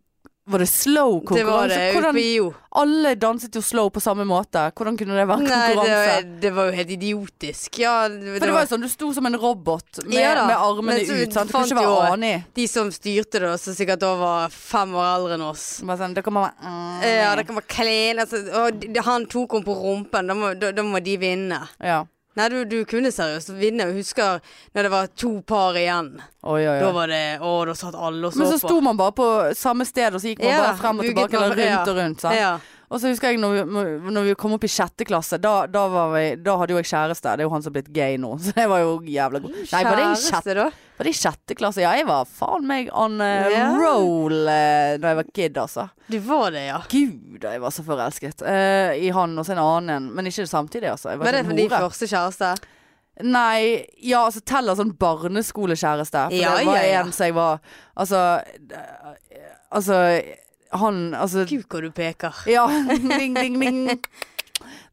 B: var det slow
A: det var
B: konkurranse?
A: det ute
B: Hvordan,
A: på IO.
B: alle danset jo slow på samme måte. Hvordan kunne det være
A: Nei, det
B: Ah, konkurranse?
A: var, det var jo helt idiotisk. Ja, det,
B: For det var jo sånn, du sto som en robot med,
A: Ja da,
B: med armene
A: men så
B: ut. Sant? Du kunne
A: fant
B: ikke være
A: jo-
B: anig.
A: de som styrte det, som sikkert da var fem år eldre enn oss.
B: Bare sånn, dere må være mm,
A: Ja, det kan være klein. Altså, og d- han tok henne på rumpen. Da må, da, da må de vinne.
B: ja.
A: Nei, du, du kunne seriøst vinne. Jeg husker når det var to par igjen.
B: Oi, oi,
A: Da
B: oi.
A: var det Å, da satt alle og så
B: Men så
A: på.
B: sto man bare på samme sted, og så gikk man
A: Ja,
B: bare frem og
A: vugget
B: tilbake.
A: man
B: Eller
A: bare- ja.
B: rundt og rundt. Sant?
A: ja.
B: Og så husker jeg når vi, når vi kom opp i sjette klasse, da, da, var vi, da hadde jo jeg kjæreste. Det er jo han som er blitt gay nå, så det var jo jævla god. Nei, var det, i sjette,
A: da?
B: var det i sjette klasse? Ja, jeg var faen meg on eh,
A: Ja.
B: roll eh, da jeg var kid, altså.
A: Du var det, ja.
B: Gud, jeg var så forelsket eh, i han og så en annen en. Men ikke samtidig, altså. Jeg var,
A: Var det
B: ikke en
A: din
B: hore.
A: første kjæreste?
B: Nei, ja, altså teller sånn barneskolekjæreste. For
A: Ja,
B: det var
A: ja, ja.
B: en som jeg var Altså eh, Altså, han Altså
A: Gud, hvor du peker.
B: Ja. Ding, ding, ding.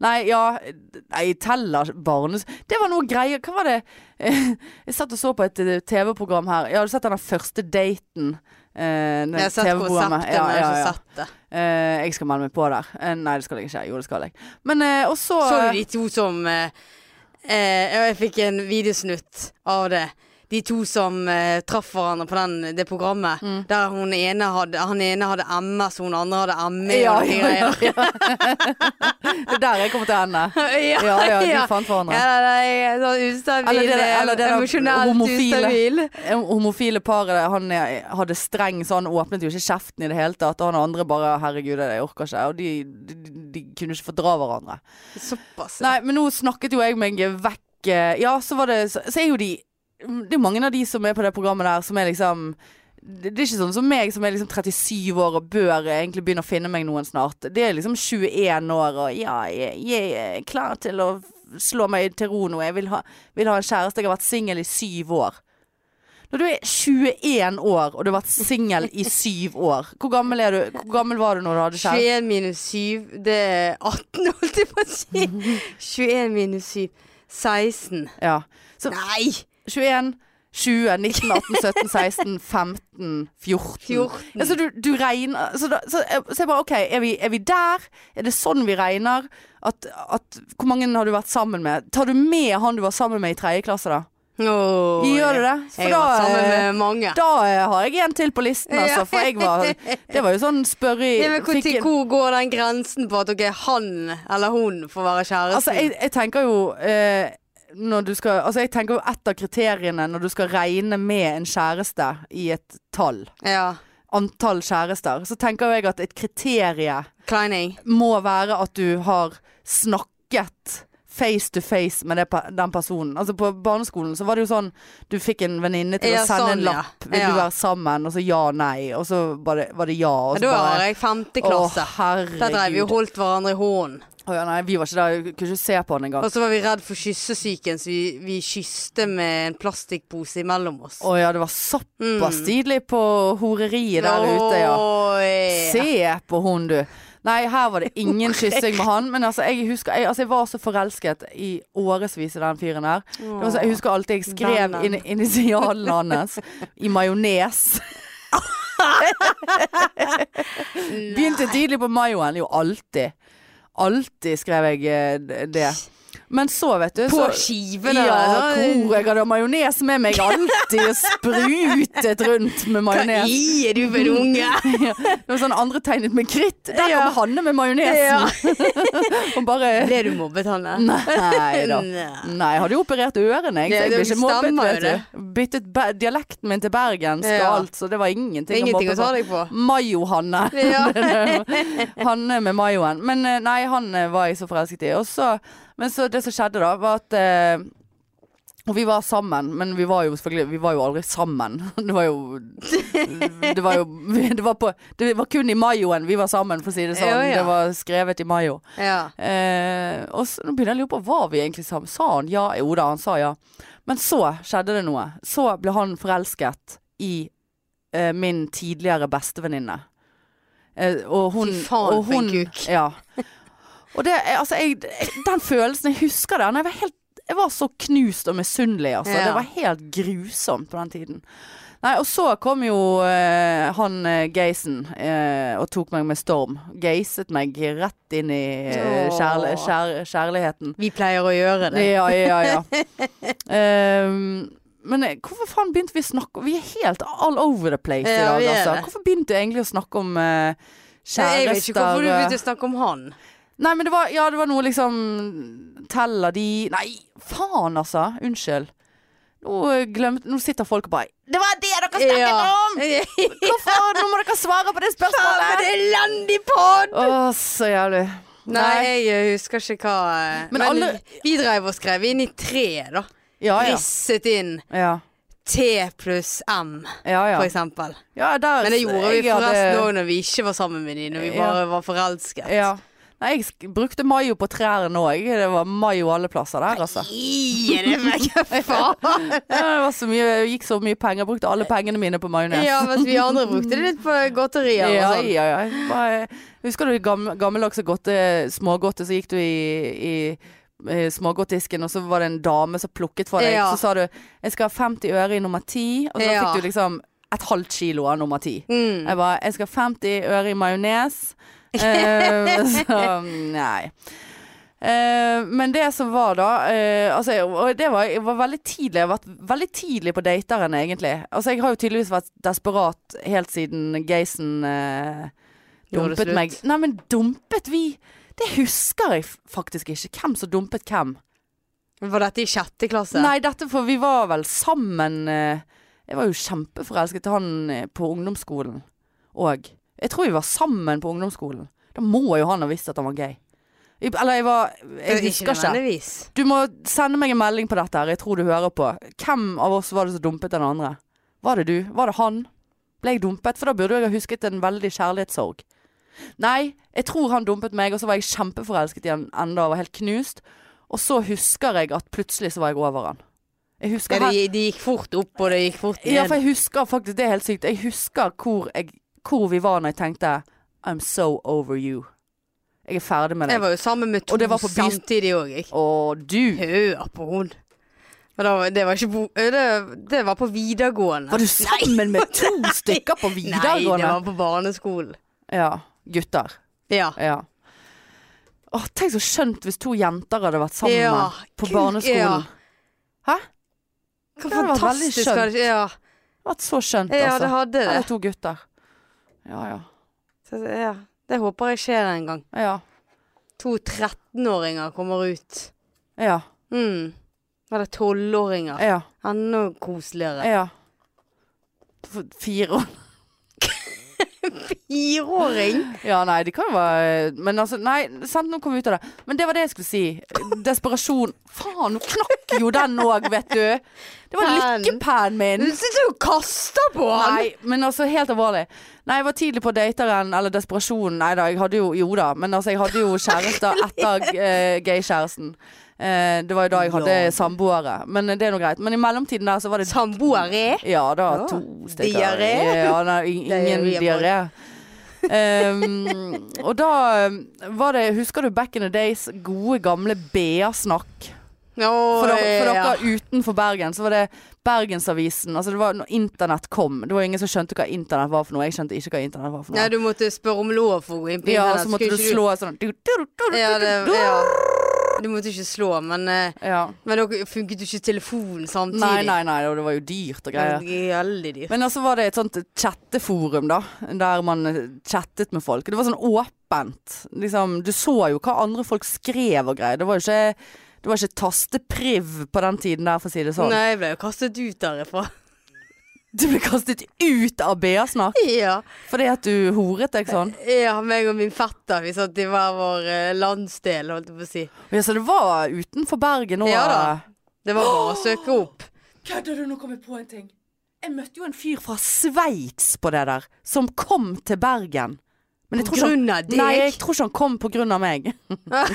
B: Nei, ja Nei, teller barnes... Det var noe greier. Hva var det Eh, Jeg satt og så på et eh, TV-program her. Ja, har du sett den der første daten? Eh, det
A: Jeg har sett
B: TV-programmet.
A: konseptet, men jeg har ikke sett det.
B: Eh, jeg skal melde meg på der. Eh, nei, det skal jeg ikke. Jo, det skal jeg. Men eh, og så
A: Så du de to som eh, eh, Jeg fikk en videosnutt av det. De to som eh, traff hverandre på den, det programmet.
B: Mm.
A: Der hun ene hadde, han ene hadde MS, hun andre hadde ME.
B: Ja,
A: og de
B: ja, ja,
A: greier.
B: ja. Det er der jeg kommer til å ende.
A: ja,
B: Ja, ja, de
A: ja.
B: fant hverandre.
A: Ja, nei, jeg er sånn ustabil,
B: Eller det der- eller det der
A: emosjonelt
B: homofile.
A: ustabil.
B: Eh, Homofile paret, han er- hadde streng, så han åpnet jo ikke kjeften i det hele tatt. Og han andre bare 'herregud, jeg orker ikke'. Og de, de, de kunne ikke fordra hverandre.
A: Såpass.
B: Nei, men nå snakket jo jeg meg vekk eh, Ja, så var det Så, så er jo de Det er mange av de som er på det programmet der Som er liksom det det er ikke sånn som meg som er liksom 37 år og bør egentlig begynne å finne meg noen snart. Det er liksom 21 år og ja, jeg, jeg er klar til å slå meg til ro nå. Jeg vil ha, vil ha en kjæreste. Jeg har vært singel i syv år. Når du er 21 år og du har vært singel i syv år, hvor gammel, er du, hvor gammel var du når du hadde kjæreste?
A: 21 minus 7, det er 18, holdt jeg på å si. 21 minus 7, 16.
B: Ja. Så
A: Nei!
B: 21 20, 19, 18, 17, 16, 15, 14.
A: 14.
B: Ja, så du, du regner så, da, så, jeg- så jeg bare OK, er vi, er vi der? Er det sånn vi regner? At, at, hvor mange har du vært sammen med? Tar du med han du var sammen med i tredje klasse, da?
A: Åh,
B: Gjør du det? For
A: Jeg
B: da,
A: har vært sammen
B: eh,
A: med mange.
B: da eh, har jeg en til på listen,
A: Ja.
B: altså. For jeg var Det var jo sånn spørre i
A: Ja, men hvor,
B: fikk
A: til
B: en-
A: hvor går den grensen på at ok, han eller hun får være kjæresten?
B: Altså, jeg, jeg tenker jo eh, når du skal, altså jeg tenker jo Et av kriteriene når du skal regne med en kjæreste i et tall,
A: ja.
B: antall kjærester, så tenker jo jeg at et kriterie
A: Kleining.
B: må være at du har snakket face to face med det, pe- den personen. Altså På barneskolen så var det jo sånn du fikk en venninne til
A: Ja,
B: å sende
A: sånn,
B: en
A: ja.
B: lapp. Vil du
A: Ja.
B: være sammen? Og så ja, nei. Og så var det, var det ja. Og så
A: Ja, da
B: Altså, bare,
A: var jeg femte klasse.
B: Å, herregud.
A: Der drev vi og holdt hverandre i hånden.
B: Å ja, nei, vi var ikke der. Vi Kunne ikke se på han engang.
A: Og så var vi redd for kyssesyken, så vi, vi kysste med en plastikkpose imellom oss.
B: Å ja, det var såpass
A: Mm.
B: tidlig på horeriet der ute, ja.
A: Oi.
B: Se på hun, du. Nei, her var det ingen kyssing med han. Men altså, jeg husker jeg, altså, jeg var så forelsket i årevis i den fyren her. Det var så, jeg husker alltid jeg skrev
A: Vennen.
B: in initialen hans i majones. Begynte tidlig på majoen. Jo, alltid. Alltid skrev jeg eh, det. Men så, vet du
A: På
B: så,
A: skivene.
B: ja,
A: altså.
B: hvor jeg hadde majones med meg alltid og sprutet rundt med
A: Hva
B: majones.
A: i er du for
B: Mm.
A: en unge?
B: Ja, det var sånn andre tegnet med kritt. Der
A: Ja.
B: kommer Hanne med majonesen. Og bare
A: Ble du mobbet, Hanne?
B: Mm. Nei da.
A: Nei.
B: Nei, jeg hadde jo operert ørene, jeg.
A: Ja,
B: Så jeg ble
A: det
B: ikke mobbet,
A: stemmer jo
B: vet du. Byttet ba- dialekten min til bergensk og
A: Ja.
B: alt, så det var ingenting,
A: Ingenting
B: mobbe
A: å ta deg på.
B: Mayo-Hanne.
A: Ja.
B: Hanne med mayoen. Men eh, nei, han eh, var jeg så forelsket i. Og så, men så det som skjedde da, var at eh, Og vi var sammen, men vi var jo selvfølgelig Vi var jo aldri sammen. Det var jo Det var jo Det var, på, det var kun i mayoen vi var sammen, for å si det sånn.
A: Ja, ja.
B: Det var skrevet i mayo.
A: Ja.
B: Eh, og så, nå begynner jeg å lure på Var vi egentlig sammen. Sa han ja? Jo da, han sa ja. Men så skjedde det noe. Så ble han forelsket i eh, min tidligere bestevenninne. Eh, og hun
A: Fy faen,
B: og
A: for
B: hun-
A: en kuk.
B: Ja. Og det, er- altså, jeg, den følelsen Jeg husker den. Jeg var, helt, jeg var så knust og misunnelig, altså.
A: Ja.
B: Det var helt grusomt på den tiden. Nei, og så kom jo eh, han eh, Geisen eh, og tok meg med storm. Geiset meg rett inn i eh,
A: Åh.
B: kjærl kjær kjærligheten.
A: Vi pleier å gjøre det.
B: Ja, ja, ja. Ehm, men eh, hvorfor faen begynte vi å snakke Vi er helt all over the place i
A: Ja,
B: dag,
A: vi er
B: altså.
A: det.
B: Hvorfor begynte jeg egentlig å snakke om eh,
A: Jeg vet ikke hvorfor du
B: kjærester?
A: begynte å snakke om han.
B: Nei, men det var, ja, det var noe liksom Teller de Nei, faen altså. Unnskyld. Nå, eh, glemte, nå sitter folk og bare Det var det dere snakket om! Hvorfor? Nå må dere svare på det
A: Faen, for
B: spørsmålet!
A: en elendig pod!
B: Å, så jævlig.
A: Nei, jeg husker ikke hva eh,
B: Men
A: Men,
B: alle-
A: vi drev og skrev inn i tre, da.
B: Ja, ja.
A: Risset inn
B: Ja,
A: T pluss M,
B: ja. ja.
A: for eksempel.
B: ja der,
A: Men det gjorde vi
B: jeg hadde-
A: forresten òg når vi ikke var sammen med de, når vi
B: Ja.
A: bare var forelsket.
B: Ja. Nei, jeg sk- brukte mayo på trærne òg. Det var mayo alle plasser der, altså.
A: I, er det meg, faen?
B: Ja, det var så mye, jeg gikk så mye penger. Brukte alle pengene mine på majones.
A: Ja, mens vi andre brukte det litt på godterier og
B: Ja,
A: sånn.
B: ja, ja. Jeg Bare, husker du gammel, gammeldags og godte, smågodte, så gikk du i, i eh, smågodtdisken, og så var det en dame som plukket for deg.
A: Ja.
B: Så sa du 'jeg skal ha 50 øre i nummer 10', og så
A: Ja.
B: fikk du liksom et halvt kilo av nummer 10.
A: Mm.
B: Jeg bare 'jeg skal ha 50 øre i majones'. Eh, så nei. Eh, men det som var da eh, altså, jeg- Og det var, jeg var veldig tidlig Jeg har vært veldig tidlig på dateren egentlig Altså jeg har jo tydeligvis vært desperat Helt siden Geisen eh,
A: Gjorde det
B: Dumpet
A: slutt.
B: meg Nei men dumpet vi Det husker jeg f- faktisk ikke Hvem som dumpet hvem
A: Var dette i sjette klasse?
B: Nei dette for vi var vel sammen eh, Jeg var jo kjempeforelsket til han eh, På ungdomsskolen Og jeg tror vi var sammen på ungdomsskolen Da må jo han ha visst at han var gay I- Eller jeg var
A: Eh,
B: Jeg husker ikke
A: nødvendigvis.
B: du må sende meg en melding på dette her, jeg tror du hører på. Hvem av oss var det som dumpet den andre? Var det du? Var det han? Ble jeg dumpet? For da burde jeg ha husket en veldig kjærlighetssorg. Nei, jeg tror han dumpet meg, og så var jeg kjempeforelsket i han enda og var helt knust. Og så husker jeg at plutselig så var jeg over han. Jeg
A: Ja,
B: husker
A: det,
B: helt-
A: gi- det gikk fort opp, og det gikk fort ned.
B: ja, for jeg husker faktisk, det er helt sykt. Jeg husker hvor, jeg, hvor vi var når jeg tenkte I'm so over you. Jeg er ferdig med
A: jeg
B: deg.
A: var jo sammen med to
B: Og det var på by-
A: samtidig òg, jeg.
B: Og du
A: Hør på hun. Og da, var- det var ikke bo... eh, Det, det var på videregående.
B: Var du sammen med to stykker på
A: Nei, det
B: videregående?
A: var på barneskolen.
B: Ja. Gutter.
A: Ja.
B: Ja. Åh, tenk så skjønt hvis to jenter hadde vært sammen
A: Ja,
B: på
A: gud,
B: barneskolen.
A: ja.
B: Hæ? Det
A: Hva
B: var veldig
A: fantastisk
B: skjønt.
A: var det ikke? Ja,
B: Vært så skjønt,
A: ja det
B: altså.
A: hadde det.
B: Eller to gutter. Ja, ja.
A: Så, ja. Det håper jeg skjer en gang.
B: Ja.
A: To 13-åringer kommer ut.
B: Ja.
A: Mm. Eller 12-åringer.
B: ja.
A: Enda koseligere.
B: Ja. For Fire år
A: Fireåring!
B: Ja, nei, de kan jo være Men altså, nei, sant, nå kom vi ut av det. Men det var det jeg skulle si. Desperasjon. Faen, nå knakk jo den òg, vet du. Det var
A: Pen.
B: lykkepennen min.
A: Du sitter jo og kaster på han!
B: Nei, men altså, helt alvorlig. Nei, jeg var tidlig på dateren, eller desperasjonen. Nei da, jeg hadde jo Jo da, men altså, jeg hadde jo kjærester etter eh, gaykjæresten. Eh, det var jo da jeg hadde
A: Ja.
B: samboere. Men eh, det er nå greit. Men i mellomtiden der så var det
A: Samboere?
B: Ja, da
A: Ja.
B: to stykker.
A: Diaré?
B: Ja, nei, i- ingen
A: Diaré.
B: diaré. Ehm, og da um, var det Husker du back in the days? Gode, gamle BA-snakk. For, dere- for dere utenfor Bergen, så var det Bergensavisen. Altså det var når internett kom. Det var ingen som skjønte hva internett var for noe. Jeg skjønte ikke hva internett var for
A: Nei,
B: noe.
A: du måtte spørre om lov for å gå inn på
B: Ja,
A: internett.
B: så måtte du
A: Skulle ikke
B: slå sånn du, du, du, du, du,
A: Ja, det,
B: du.
A: ja. Du måtte ikke slå, men eh,
B: ja.
A: Men dere funket jo ikke telefonen samtidig.
B: Nei, nei, nei, og det var jo dyrt og greier.
A: Det er Veldig dyrt.
B: Men altså var det et sånt chatteforum da, der man eh, chattet med folk. Det var sånn åpent. Liksom, du så jo hva andre folk skrev og greier. Det var jo ikke, det var ikke tastepriv på den tiden der, for å si det sånn.
A: Nei, jeg ble jo kastet ut derifra.
B: Du ble kastet ut av BA-snakk
A: Ja.
B: fordi at du horet deg sånn.
A: ja, meg og min fetter, vi satt i hver vår eh, landsdel, holdt jeg på å si.
B: Ja, så det var utenfor Bergen og
A: Ja da. Det var bare å søke opp.
B: Kødder du? Nå kom jeg på en ting. Jeg møtte jo en fyr fra Sveits på det der, som kom til Bergen. Men jeg
A: På
B: tror ikke han-
A: grunn av deg?
B: Nei, jeg tror ikke han kom på grunn av meg.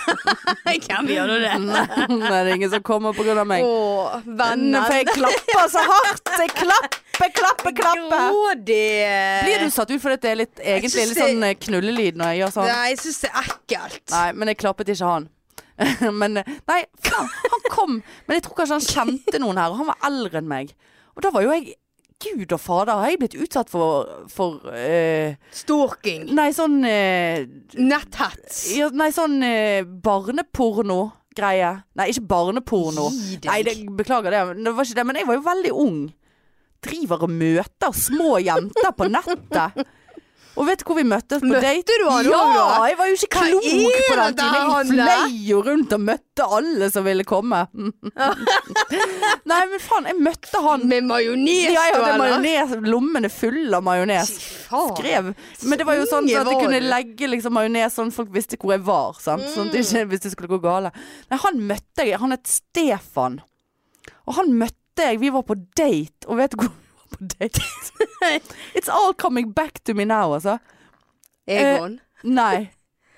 A: Hvem gjør nå det?
B: Nei, det er ingen som kommer på grunn av meg.
A: Å,
B: Nei, For
A: venner.
B: jeg klapper så hardt. Jeg klapper, klapper, klapper.
A: Grådig.
B: Blir du satt ut fordi at det er litt, egentlig
A: synes
B: litt sånn eh, knullelyd når jeg gjør sånn?
A: Nei, jeg syns det er ekkelt.
B: Nei, men jeg klappet ikke han. men eh, Nei, faen, han kom. Men jeg tror kanskje han kjente noen her, og han var eldre enn meg. Og da var jo jeg Gud og fader, har jeg blitt utsatt for, for eh,
A: Stalking.
B: Nei, sånn eh,
A: Netthets.
B: ja, Nei, sånn eh, barneporno-greie. Nei, ikke barneporno.
A: Gi deg.
B: Nei, det, beklager det. men Det var ikke det, men jeg var jo veldig ung. Driver og møter små jenter på nettet. Og vet du hvor vi møttes på
A: Møtte
B: date?
A: du han
B: ja,
A: òg da?
B: jeg var jo ikke
A: Hva
B: klok på
A: er
B: den
A: det der,
B: tiden. Jeg
A: Hanne?
B: fløy jo rundt og møtte alle som ville komme. Nei, men faen, jeg møtte han.
A: Med majones,
B: Ja, ja,
A: da,
B: det er
A: eller?
B: majones, lommene fulle av majones.
A: Fy faen.
B: Skrev. Men det var jo sånn
A: Unge
B: at jeg
A: var
B: kunne
A: du.
B: legge liksom majones sånn at folk visste hvor jeg var. Sant? Sånn at det ikke, hvis det skulle gå gale. Nei, han møtte jeg. Han het Stefan. Og han møtte jeg. Vi var på date. Og vet du hvor vi var på date? It's all coming back to me now, altså.
A: Egon.
B: Nei.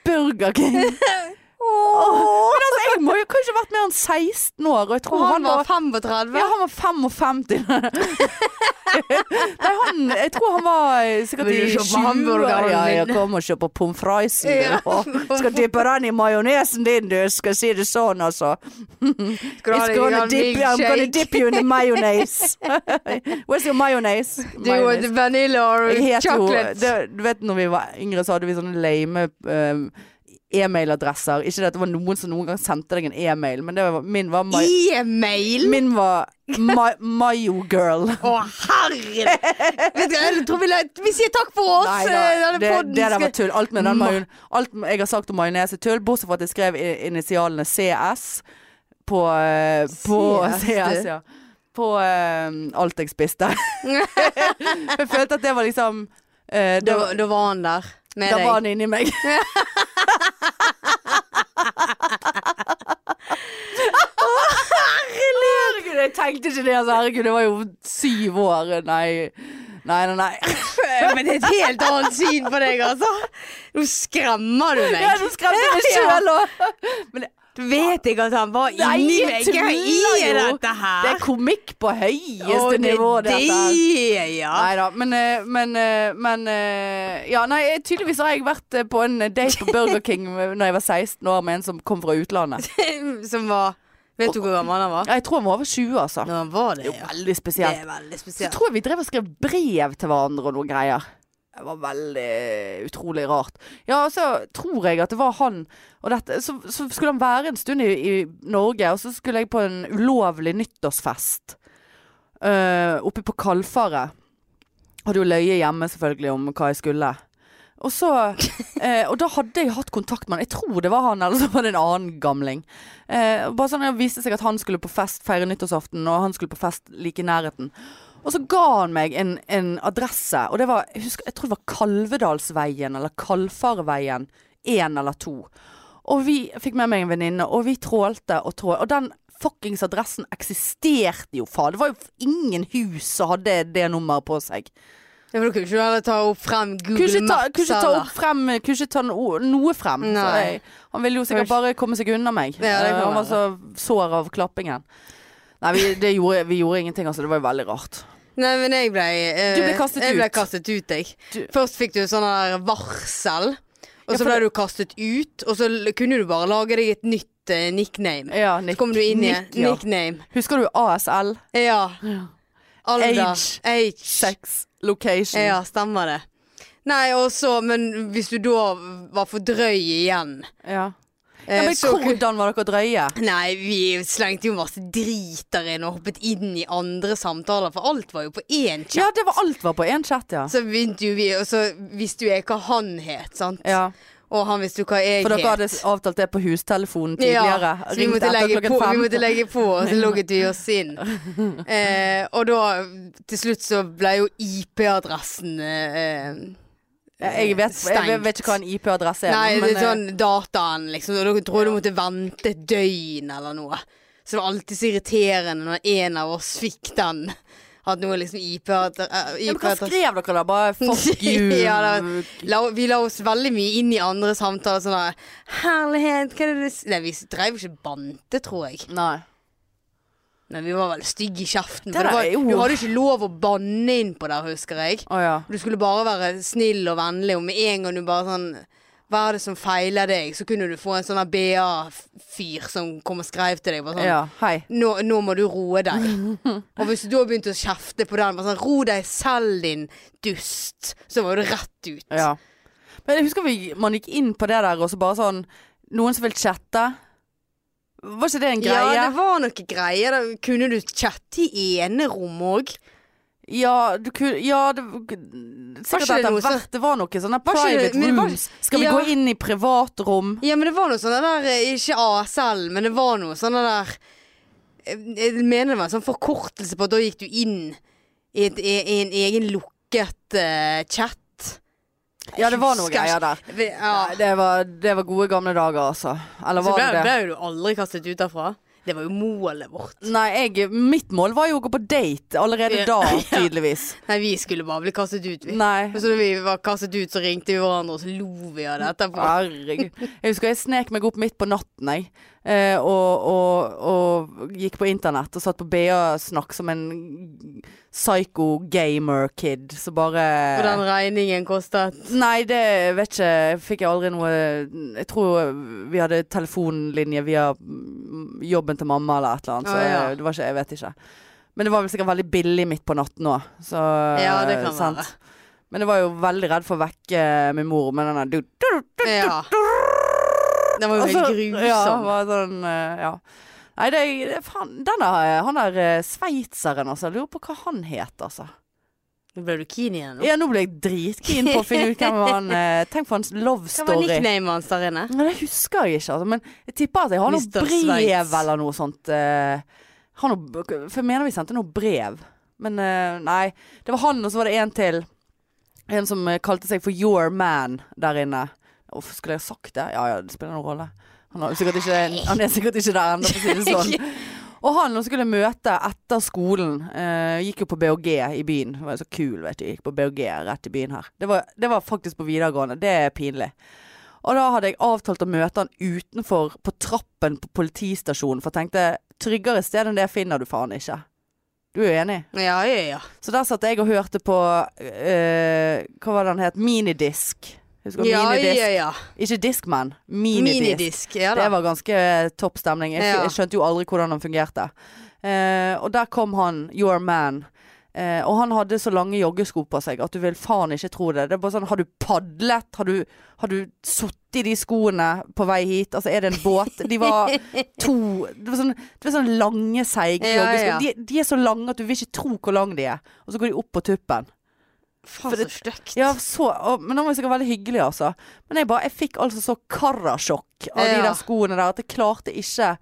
B: Burger King. Åh, Men altså, jeg må jo kanskje ha vært med han 16 år, og jeg tror
A: Og
B: han,
A: han var
B: ja,
A: 35.
B: han var 55. Nei, han, jeg tror han var eh, sikkert
A: Vil
B: i
A: du kjøpe
B: 20 år.
A: hamburgeren
B: Ja,
A: min?
B: jeg kommer og kjøper pommes frites.
A: Ja.
B: Skal dippe den i majonesen din, du. Skal si det sånn, altså.
A: Skal du
B: It's
A: ha deg en
B: gonna
A: gammel
B: dip, I'm gonna
A: milkshake?
B: dip you in the mayonnaise. Where's your mayonnaise?
A: Do you want
B: Mayonnaise.
A: vanilla or
B: Jeg het jo
A: chocolate?
B: det, Du vet når vi var yngre, så hadde vi sånne lame eh, e-mailadresser. Ikke det at det var noen som noen gang sendte deg en e-mail, men det var, min var my,
A: E-mail?
B: Min var my, Mayogirl.
A: Å, herre! Vet du hva, jeg tror vi, la- vi sier takk for oss.
B: Nei da,
A: eh,
B: det,
A: podden
B: det der var
A: skal-
B: tull. Alt, med den
A: Ma-
B: majon, alt jeg har sagt om majones er tull, bortsett fra at jeg skrev i- initialene CS på, eh, på
A: CS,
B: CS,
A: du.
B: ja. På eh, alt jeg spiste. jeg følte at det var liksom eh, det
A: da,
B: var,
A: da var han der med
B: Da
A: deg.
B: var han inni meg. Herregud, jeg tenkte ikke det. Altså, herregud, det var jo syv år. Nei, nei, nei. nei.
A: Men det er et helt annet syn på deg, altså. Nå skremmer du meg.
B: Ja, nå skremte jeg meg sjøl òg. Men det,
A: Du vet ikke at han var
B: Nei,
A: inni
B: jeg
A: meg. Hva
B: tuller
A: er
B: jo.
A: dette her?
B: det er komikk på høyeste
A: Å, det er
B: nivå, dette. her.
A: det, ja.
B: Nei da, men, eh, men, eh, men eh, Ja, nei, eh, tydeligvis har jeg vært eh, på en date på Burger King når jeg var 16 år med en som kom fra utlandet.
A: Som var Vet du hvor gammel han var?
B: Jeg tror han var over 20, altså.
A: Når han var
B: Det er
A: det,
B: jo
A: ja.
B: veldig
A: Det
B: spesielt.
A: er veldig
B: Så
A: spesielt.
B: tror jeg vi drev og skrev brev til hverandre og noen greier. Det var veldig utrolig rart. Ja, og så tror jeg at det var han og dette Så, så skulle han være en stund i, i Norge, og så skulle jeg på en ulovlig nyttårsfest eh, oppe på Kalfaret. Hadde jo løyet hjemme selvfølgelig om hva jeg skulle. Og så eh, Og da hadde jeg hatt kontakt med han. Jeg tror det var han, eller så var det en annen gamling. Eh, og bare sånn Det viste seg at han skulle på fest, feire nyttårsaften, og han skulle på fest like i nærheten. Og så ga han meg en, en adresse, og det var jeg, husker, jeg tror det var Kalvedalsveien eller Kalfarveien 1 eller 2. Og vi jeg fikk med meg en venninne, og vi trålte og trålte. Og den fuckings adressen eksisterte jo, faen. Det var jo ingen hus som hadde det nummeret på seg.
A: Ja, for du kunne ikke heller ta opp frem
B: Kunne ikke
A: Google
B: ta,
A: Maps,
B: kunne ikke ta
A: eller?
B: opp frem Kunne ikke ta no, noe frem. Så
A: Nei.
B: jeg, han ville jo sikkert bare komme seg unna meg.
A: Ja, det kan
B: Eh, han var så
A: være.
B: sår av klappingen. Nei, vi, det gjorde, vi gjorde ingenting, altså. Det var jo veldig rart.
A: Nei, men jeg ble, eh,
B: Du ble kastet
A: jeg ble
B: ut.
A: kastet ut. Jeg.
B: Du-
A: Først fikk du sånn der varsel, og
B: Ja,
A: så
B: for
A: ble
B: det-
A: du kastet ut. Og så l- kunne du bare lage deg et nytt eh, nickname.
B: Ja,
A: Så
B: Nick-
A: kom du inn i
B: Nick, ja.
A: nickname.
B: Husker du ASL?
A: Ja.
B: Ja.
A: Alder.
B: Age.
A: Age.
B: Sex location.
A: Ja, stemmer det. Nei, og så Men hvis du da var for drøy igjen
B: Ja.
A: eh,
B: Ja, men
A: så ku-
B: hvordan var dere drøye?
A: Nei, vi slengte jo masse drit der inne og hoppet inn i andre samtaler, for alt var jo på én chat.
B: Ja, det var alt var på én chat, ja.
A: Så begynte jo vi, og så visste jo jeg hva han het, sant.
B: ja.
A: Og han visste jo hva jeg
B: For dere
A: het.
B: hadde avtalt det på hustelefonen tidligere.
A: Ja, så vi
B: Ringte
A: måtte,
B: etter
A: legge
B: klokken
A: på, vi
B: fem.
A: måtte legge på, og så logget vi oss inn. Eh, og da, til slutt så ble jo IP-adressen eh,
B: Jeg vet, jeg
A: stengt.
B: vet ikke hva en IP-adresse er.
A: Nei, det
B: men,
A: er
B: eh,
A: sånn dataen, liksom. Og dere tror du måtte vente et døgn eller noe. Så det var alltid så irriterende når en av oss fikk den. At noe liksom IP-adresse
B: ja, men hva skrev dere da? Bare fuck you.
A: Ja, det var- la, vi la oss veldig mye inn i andre samtaler. Sånn der, 'Herlighet, hva er det du s-» Nei, vi dreiv ikke bante, tror jeg.
B: Nei.
A: Men vi var veldig stygge i kjeften.
B: Det
A: For det
B: der
A: var,
B: er jo-
A: du hadde ikke lov å banne innpå der, husker jeg.
B: Å ja.
A: Du skulle bare være snill og vennlig, og med en gang du bare sånn Hva er det som feiler deg? Så kunne du få en sånn der BA-fyr som kom og skrev til deg. Bare sånn,
B: ja. Hei.
A: nå, nå må du roe deg. Og hvis du da begynte å kjefte på den, bare sånn Ro deg selv, din dust. Så var du rett ut.
B: Ja. Men jeg husker vi, man gikk inn på det der, og så bare sånn Noen som vil chatte? Var ikke det en greie?
A: Ja, det var noe greier. Da kunne du chatte i enerom òg.
B: Ja, du kunne Ja, det
A: Var ikke
B: Sikkert
A: det
B: etter
A: noe så-
B: hvert. Det var noe sånne
A: Var ikke det-
B: private
A: men det var-
B: rooms. Skal vi
A: Ja.
B: gå inn i privatrom?
A: Ja, men det var noe sånn det der eh, Ikke ASL, men det var noe sånn det der eh, Jeg mener det var en sånn forkortelse på at da gikk du inn i, et, i i en egen lukket eh, chat.
B: Ja, det var noe
A: Husker jeg
B: greier der.
A: ikke. Ja.
B: Nei, det, var, det var gode gamle dager, altså. Eller
A: Så
B: var
A: ble,
B: det det?
A: ble jo du aldri kastet ut derfra. Det var jo målet vårt.
B: Nei, jeg, mitt mål var jo å gå på date allerede
A: Ja.
B: da,
A: Ja.
B: tydeligvis.
A: Nei, vi skulle bare bli kastet ut, vi.
B: Nei.
A: Og så da vi var kastet ut, så ringte vi hverandre, og så lo vi av det etterpå.
B: Herregud. Jeg husker jeg snek meg opp midt på natten, jeg. Eh, og, og, og gikk på internett og satt på BA-snakk som en psycho gamer-kid som bare
A: Og den regningen kostet
B: Nei, det vet ikke. Fikk jeg aldri noe Jeg tror vi hadde telefonlinje via mm, jobben til mamma eller et eller annet. Så
A: Å, ja.
B: det var ikke Jeg vet ikke. Men det var vel sikkert veldig billig midt på natten òg. Så
A: Ja, det kan
B: sant.
A: være.
B: Men jeg var jo veldig redd for å vekke min mor med den der du, du, du,
A: Ja. Den var jo
B: Altså,
A: helt
B: Ja,
A: grusom.
B: var sånn, eh, ja. Nei, det, det, faen, den der, han der eh, sveitseren, altså. Jeg lurer på hva han het, altså.
A: Nå ble du keen igjen. nå.
B: Ja, nå ble jeg dritkeen på å finne ut hvem han eh, Tenk for hans love
A: Hva var
B: story.
A: nicknamet hans der inne?
B: Men det husker jeg ikke, altså. Men jeg tipper at jeg har noe
A: Mr. Sveits.
B: brev eller noe sånt. eh, har noe, for jeg mener vi sendte noe brev. Men eh, nei. Det var han, og så var det en til. En som eh, kalte seg for Your Man der inne. Uff, skulle jeg sagt det? Ja ja, det spiller noen rolle. Han, har jo sikkert ikke, han er sikkert ikke der ennå, for å si det sånn. Og han nå skulle jeg møte etter skolen. eh, gikk jo på BHG i byen. Det var jo så kul, vet du. Gikk på BHG rett i byen her. Det var, det var faktisk på videregående. Det er pinlig. Og da hadde jeg avtalt å møte han utenfor på trappen på politistasjonen, for jeg tenkte tryggere sted enn det finner du faen ikke. Du er jo enig?
A: Ja, ja, ja.
B: Så der satt jeg og hørte på eh, Hva var det han het? Minidisk. Husker du
A: ja,
B: minidisk?
A: ja, ja.
B: Ikke Discman, minidisk.
A: Minidisk. Ja da.
B: det var ganske eh, topp stemning. Jeg,
A: Ja.
B: jeg skjønte jo aldri hvordan han fungerte. Eh, og der kom han, your man. Eh, og han hadde så lange joggesko på seg at du vil faen ikke tro det. Det er bare sånn, Har du padlet? Har du, har du sittet i de skoene på vei hit? Altså, er det en båt? De var to Det var sånn, det var sånn lange, seige
A: Ja,
B: joggesko.
A: ja.
B: De, de er så lange at du vil ikke tro hvor lange de er. Og så går de opp på tuppen.
A: Faen,
B: for
A: så
B: det-
A: stygt.
B: Ja, så, og, men han var jo sikkert veldig hyggelig, altså. Men jeg, bare, jeg fikk altså så karasjokk av de
A: Ja.
B: der skoene der at jeg klarte ikke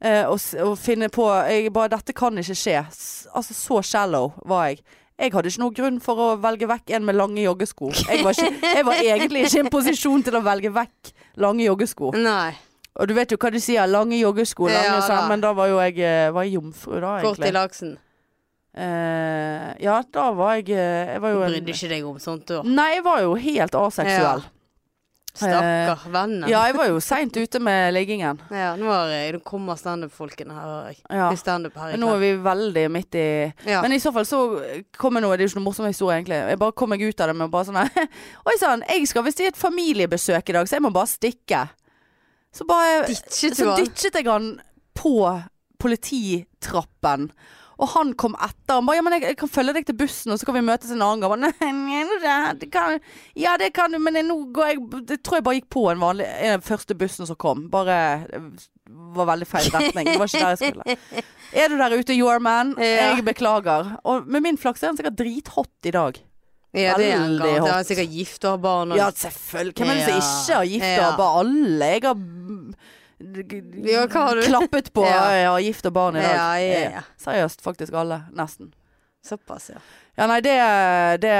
B: eh, å, s- å finne på jeg bare, Dette kan ikke skje. S altså, så shallow var jeg. Jeg hadde ikke noen grunn for å velge vekk en med lange joggesko. Jeg var, ikke, jeg var egentlig ikke i en posisjon til å velge vekk lange joggesko.
A: Nei.
B: Og du vet jo hva de sier, lange joggesko, lange
A: Ja,
B: sånn,
A: da.
B: men da var jo jeg eh, var jeg jomfru, da,
A: Kort i
B: egentlig.
A: laksen.
B: Eh, ja, da var jeg eh, Jeg var jo en
A: Brydde ikke deg om sånt, du.
B: Nei, jeg var jo helt aseksuell.
A: Stakkar vennen.
B: Ja, jeg var jo seint ute med liggingen.
A: Ja, nå, er jeg, nå kommer standup-folkene her. hører jeg.
B: Ja.
A: Det er Standup her i
B: Men nå er
A: kveld.
B: vi veldig midt i
A: Ja.
B: Men i så fall så kom jeg nå Det er jo ikke noen morsom historie, egentlig. Jeg bare kom meg ut av det med bare sånn her, Oi sann, jeg skal visst i et familiebesøk i dag, så jeg må bare stikke. Så bare
A: Ditchet du
B: Så
A: han?
B: ditchet jeg han på polititrappen. Og han kom etter. Han ba, ja, men jeg, jeg kan følge deg til bussen, og så kan vi møtes en annen gang. Jeg ba, Nei, nei, nei, det kan, ja, det kan du, men jeg, nå går jeg Det tror jeg bare gikk på en vanlig en av de første bussen som kom. Bare eh, var veldig feil retning. Det var ikke der jeg skulle. Er du der ute, your man?
A: Ja.
B: Jeg beklager. Og med min flaks er han sikkert drithot i dag.
A: Ja, det er han
B: Veldig
A: garantert.
B: hot.
A: Han er sikkert gift og har barn. og-
B: Ja, selvfølgelig. Hvem er det som
A: Ja.
B: ikke har gift
A: Ja.
B: og bare alle? Jeg har mm, g- g-
A: Ja, hva har du?
B: klappet på
A: Ja.
B: jeg har gift og barn i dag.
A: Ja, ja, ja.
B: Seriøst, faktisk alle. Nesten.
A: Såpass, ja.
B: Ja, nei, det, det,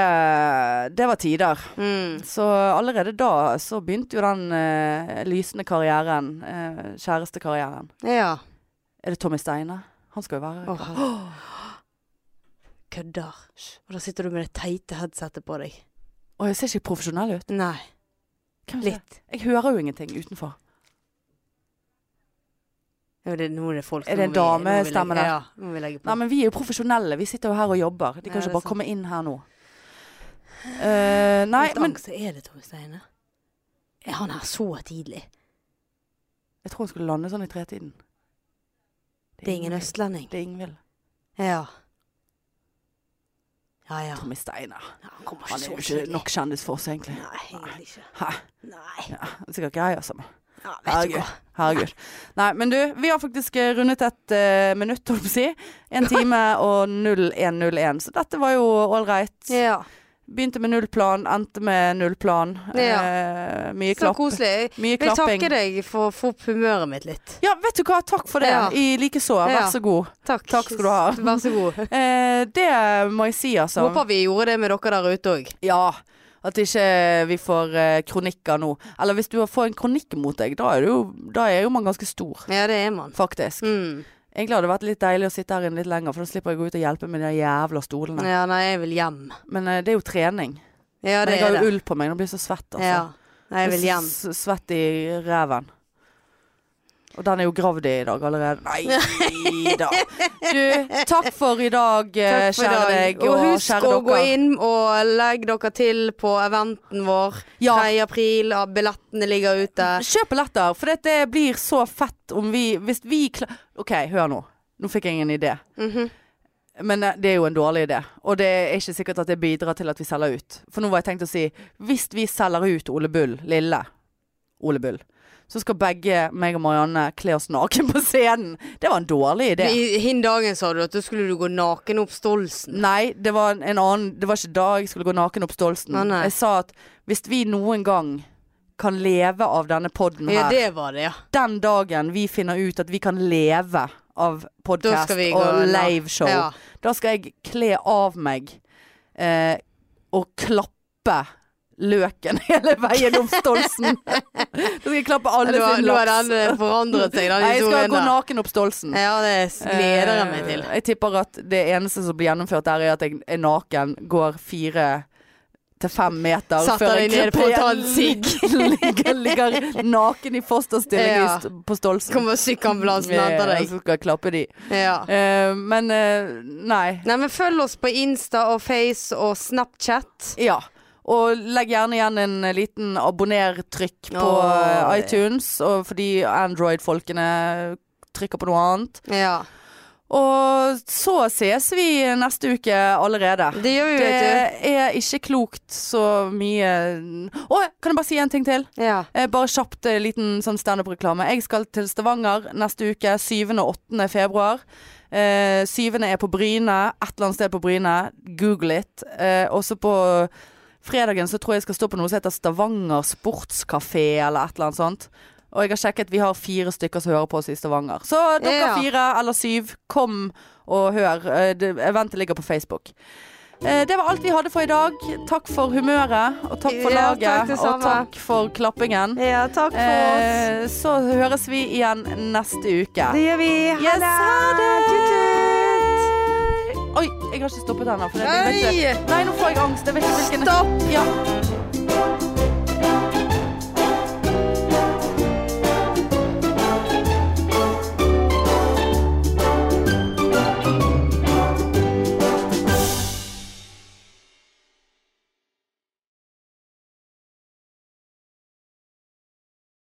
B: det var tider.
A: Mm.
B: Så allerede da så begynte jo den eh, lysende karrieren. eh, kjærestekarrieren.
A: Ja.
B: Er det Tommy Steine? Han skal jo være
A: Å, herre- Kødder. Og da sitter du med det teite headsetet på deg.
B: Å, jeg ser ikke profesjonell ut.
A: Nei.
B: Hvem er det?
A: Litt.
B: Jeg hører jo ingenting utenfor.
A: Ja, det, nå er det folk
B: Er det en
A: nå må vi- nå må vi
B: damestemme
A: legge-
B: der?
A: Ja, nå må vi legge på.
B: Nei, men vi er jo profesjonelle. Vi sitter jo her og jobber. De
A: Ja,
B: kan
A: det er
B: ikke bare
A: sant.
B: komme inn her nå. Eh, nei,
A: Litt
B: men
A: angst er det, Tommy Steine. Er han her så tidlig?
B: Jeg tror hun skulle lande sånn i tretiden.
A: Det er ingen østlending.
B: Det er Ingvild.
A: Mm. Ja. Ja, ja.
B: Tommy Steiner.
A: Ja, Han kommer
B: Han er jo
A: ikke så
B: ikke
A: tidlig.
B: nok kjendis for oss, egentlig.
A: Nei, egentlig ikke.
B: Hæ?
A: Nei.
B: Ja, det er sikkert ikke jeg, altså. men
A: Ja, vet du
B: Herregud.
A: hva.
B: Herregud. Nei, men du, vi har faktisk eh, rundet et eh, minutt, holdt jeg på å si. En time og 0101. Så dette var jo all right.
A: Ja.
B: Begynte med null plan, endte med null plan.
A: Ja.
B: Eh, mye
A: Så
B: klapp.
A: koselig. Jeg
B: Mye
A: vil
B: klapping.
A: takke deg for å få opp humøret mitt litt.
B: Ja, vet du hva. Takk for det.
A: Ja.
B: I likeså. Vær
A: Ja.
B: så god.
A: Takk.
B: Takk skal du ha.
A: Vær så god.
B: Eh, det må jeg si, altså.
A: Håper vi gjorde det med dere der ute òg.
B: Ja. At ikke vi får eh, kronikker nå. Eller hvis du får en kronikk mot deg, da er, du, jo- da er jo man ganske stor,
A: Ja, det er man.
B: faktisk.
A: Mm.
B: Egentlig hadde det vært litt deilig å sitte her inne litt lenger, for da slipper jeg å gå ut og hjelpe med de jævla stolene.
A: Ja, nei, jeg vil hjem.
B: Men eh, det er jo trening.
A: Ja,
B: Men
A: det
B: jeg
A: er
B: har
A: det.
B: jo ull på meg, nå blir jeg så svett, altså.
A: Ja. Nei, jeg vil
B: Jeg er
A: hjem.
B: så s- Svett i reven. Og den er jo gravd i i dag allerede. Nei da. Du, takk for i dag, eh,
A: Takk for i
B: kjære
A: dag.
B: deg og,
A: husk
B: kjære
A: å
B: dere.
A: gå inn og legge dere til på eventen vår 3.
B: Ja.
A: april. og Billettene ligger ute.
B: Kjøp billetter, for dette blir så fett om vi Hvis vi klarer OK, hør nå. Nå fikk jeg en idé.
A: Mhm.
B: Men eh, det er jo en dårlig idé. Og det er ikke sikkert at det bidrar til at vi selger ut. For nå var jeg tenkt å si hvis vi selger ut Ole Bull, lille Ole Bull, så skal begge meg og Marianne kle oss naken på scenen. Det var en dårlig idé.
A: I- Hin dagen sa du at da skulle du gå naken opp Stolsen.
B: Nei, det var en annen Det var ikke da jeg skulle gå naken opp Stolsen.
A: Nei, nei.
B: Jeg sa at hvis vi noen gang kan leve av denne poden her
A: Ja, det var det, ja.
B: den dagen vi finner ut at vi kan leve av
A: Da
B: podkast
A: skal vi gå
B: og
A: na-
B: liveshow,
A: Ja.
B: da skal jeg kle av meg eh, og klappe løken hele veien om Stolsen. da skal jeg klappe alle
A: Nå
B: sin
A: nå har
B: laks.
A: den eh, forandret seg, den
B: Nei, jeg skal
A: historien
B: gå
A: der.
B: naken opp Stolsen.
A: Ja, det gleder jeg meg til.
B: Eh, Jeg tipper at det eneste som blir gjennomført der, er at jeg er naken, går fire til fem meter
A: Satt
B: før
A: deg
B: jeg
A: ned på
B: klipper
A: å ta en
B: igjen. ligger, ligger naken i fosterstilling i
A: Ja.
B: st- på Stolsen.
A: Kommer sykeambulansen og henter
B: Ja, altså.
A: deg.
B: Eh, Så skal jeg klappe de.
A: Ja.
B: Eh, men eh, nei.
A: Nei, men følg oss på Insta og Face og Snapchat.
B: Ja. Og legg gjerne igjen en eh, liten abonner-trykk på
A: Åh.
B: eh, iTunes, og fordi Android-folkene trykker på noe annet.
A: Ja.
B: Og så ses vi neste uke allerede.
A: Det gjør vi, vet
B: Det er ikke klokt så mye Å, kan jeg bare si en ting til?
A: du. Ja.
B: Eh, Bare kjapt eh, liten sånn standup-reklame. Jeg skal til Stavanger neste uke, 7. og 8. februar. Eh, 7. er på Bryne, et eller annet sted på Bryne. Google it. Eh, også på fredagen så tror jeg jeg skal stå på noe som heter Stavanger sportskafé, eller et eller annet sånt. Og jeg har sjekket, vi har fire stykker som hører på oss i Stavanger. Så dere
A: Ja.
B: fire eller syv, kom og hør. Eh, det- Eventet ligger på Facebook. Eh, Det var alt vi hadde for i dag. Takk for humøret, og takk for
A: Ja,
B: laget.
A: takk det
B: og
A: samme.
B: takk for klappingen.
A: ja, takk for oss.
B: Eh, så høres vi igjen neste uke.
A: Det gjør vi. Ha
B: Yes,
A: det.
B: ha det.
A: Tut-tut.
B: Oi, jeg har ikke stoppet ennå. for jeg vet
A: Nei!
B: ikke- Nei, nå får jeg angst. Jeg vet ikke hvilken
A: Stopp.
B: Ja.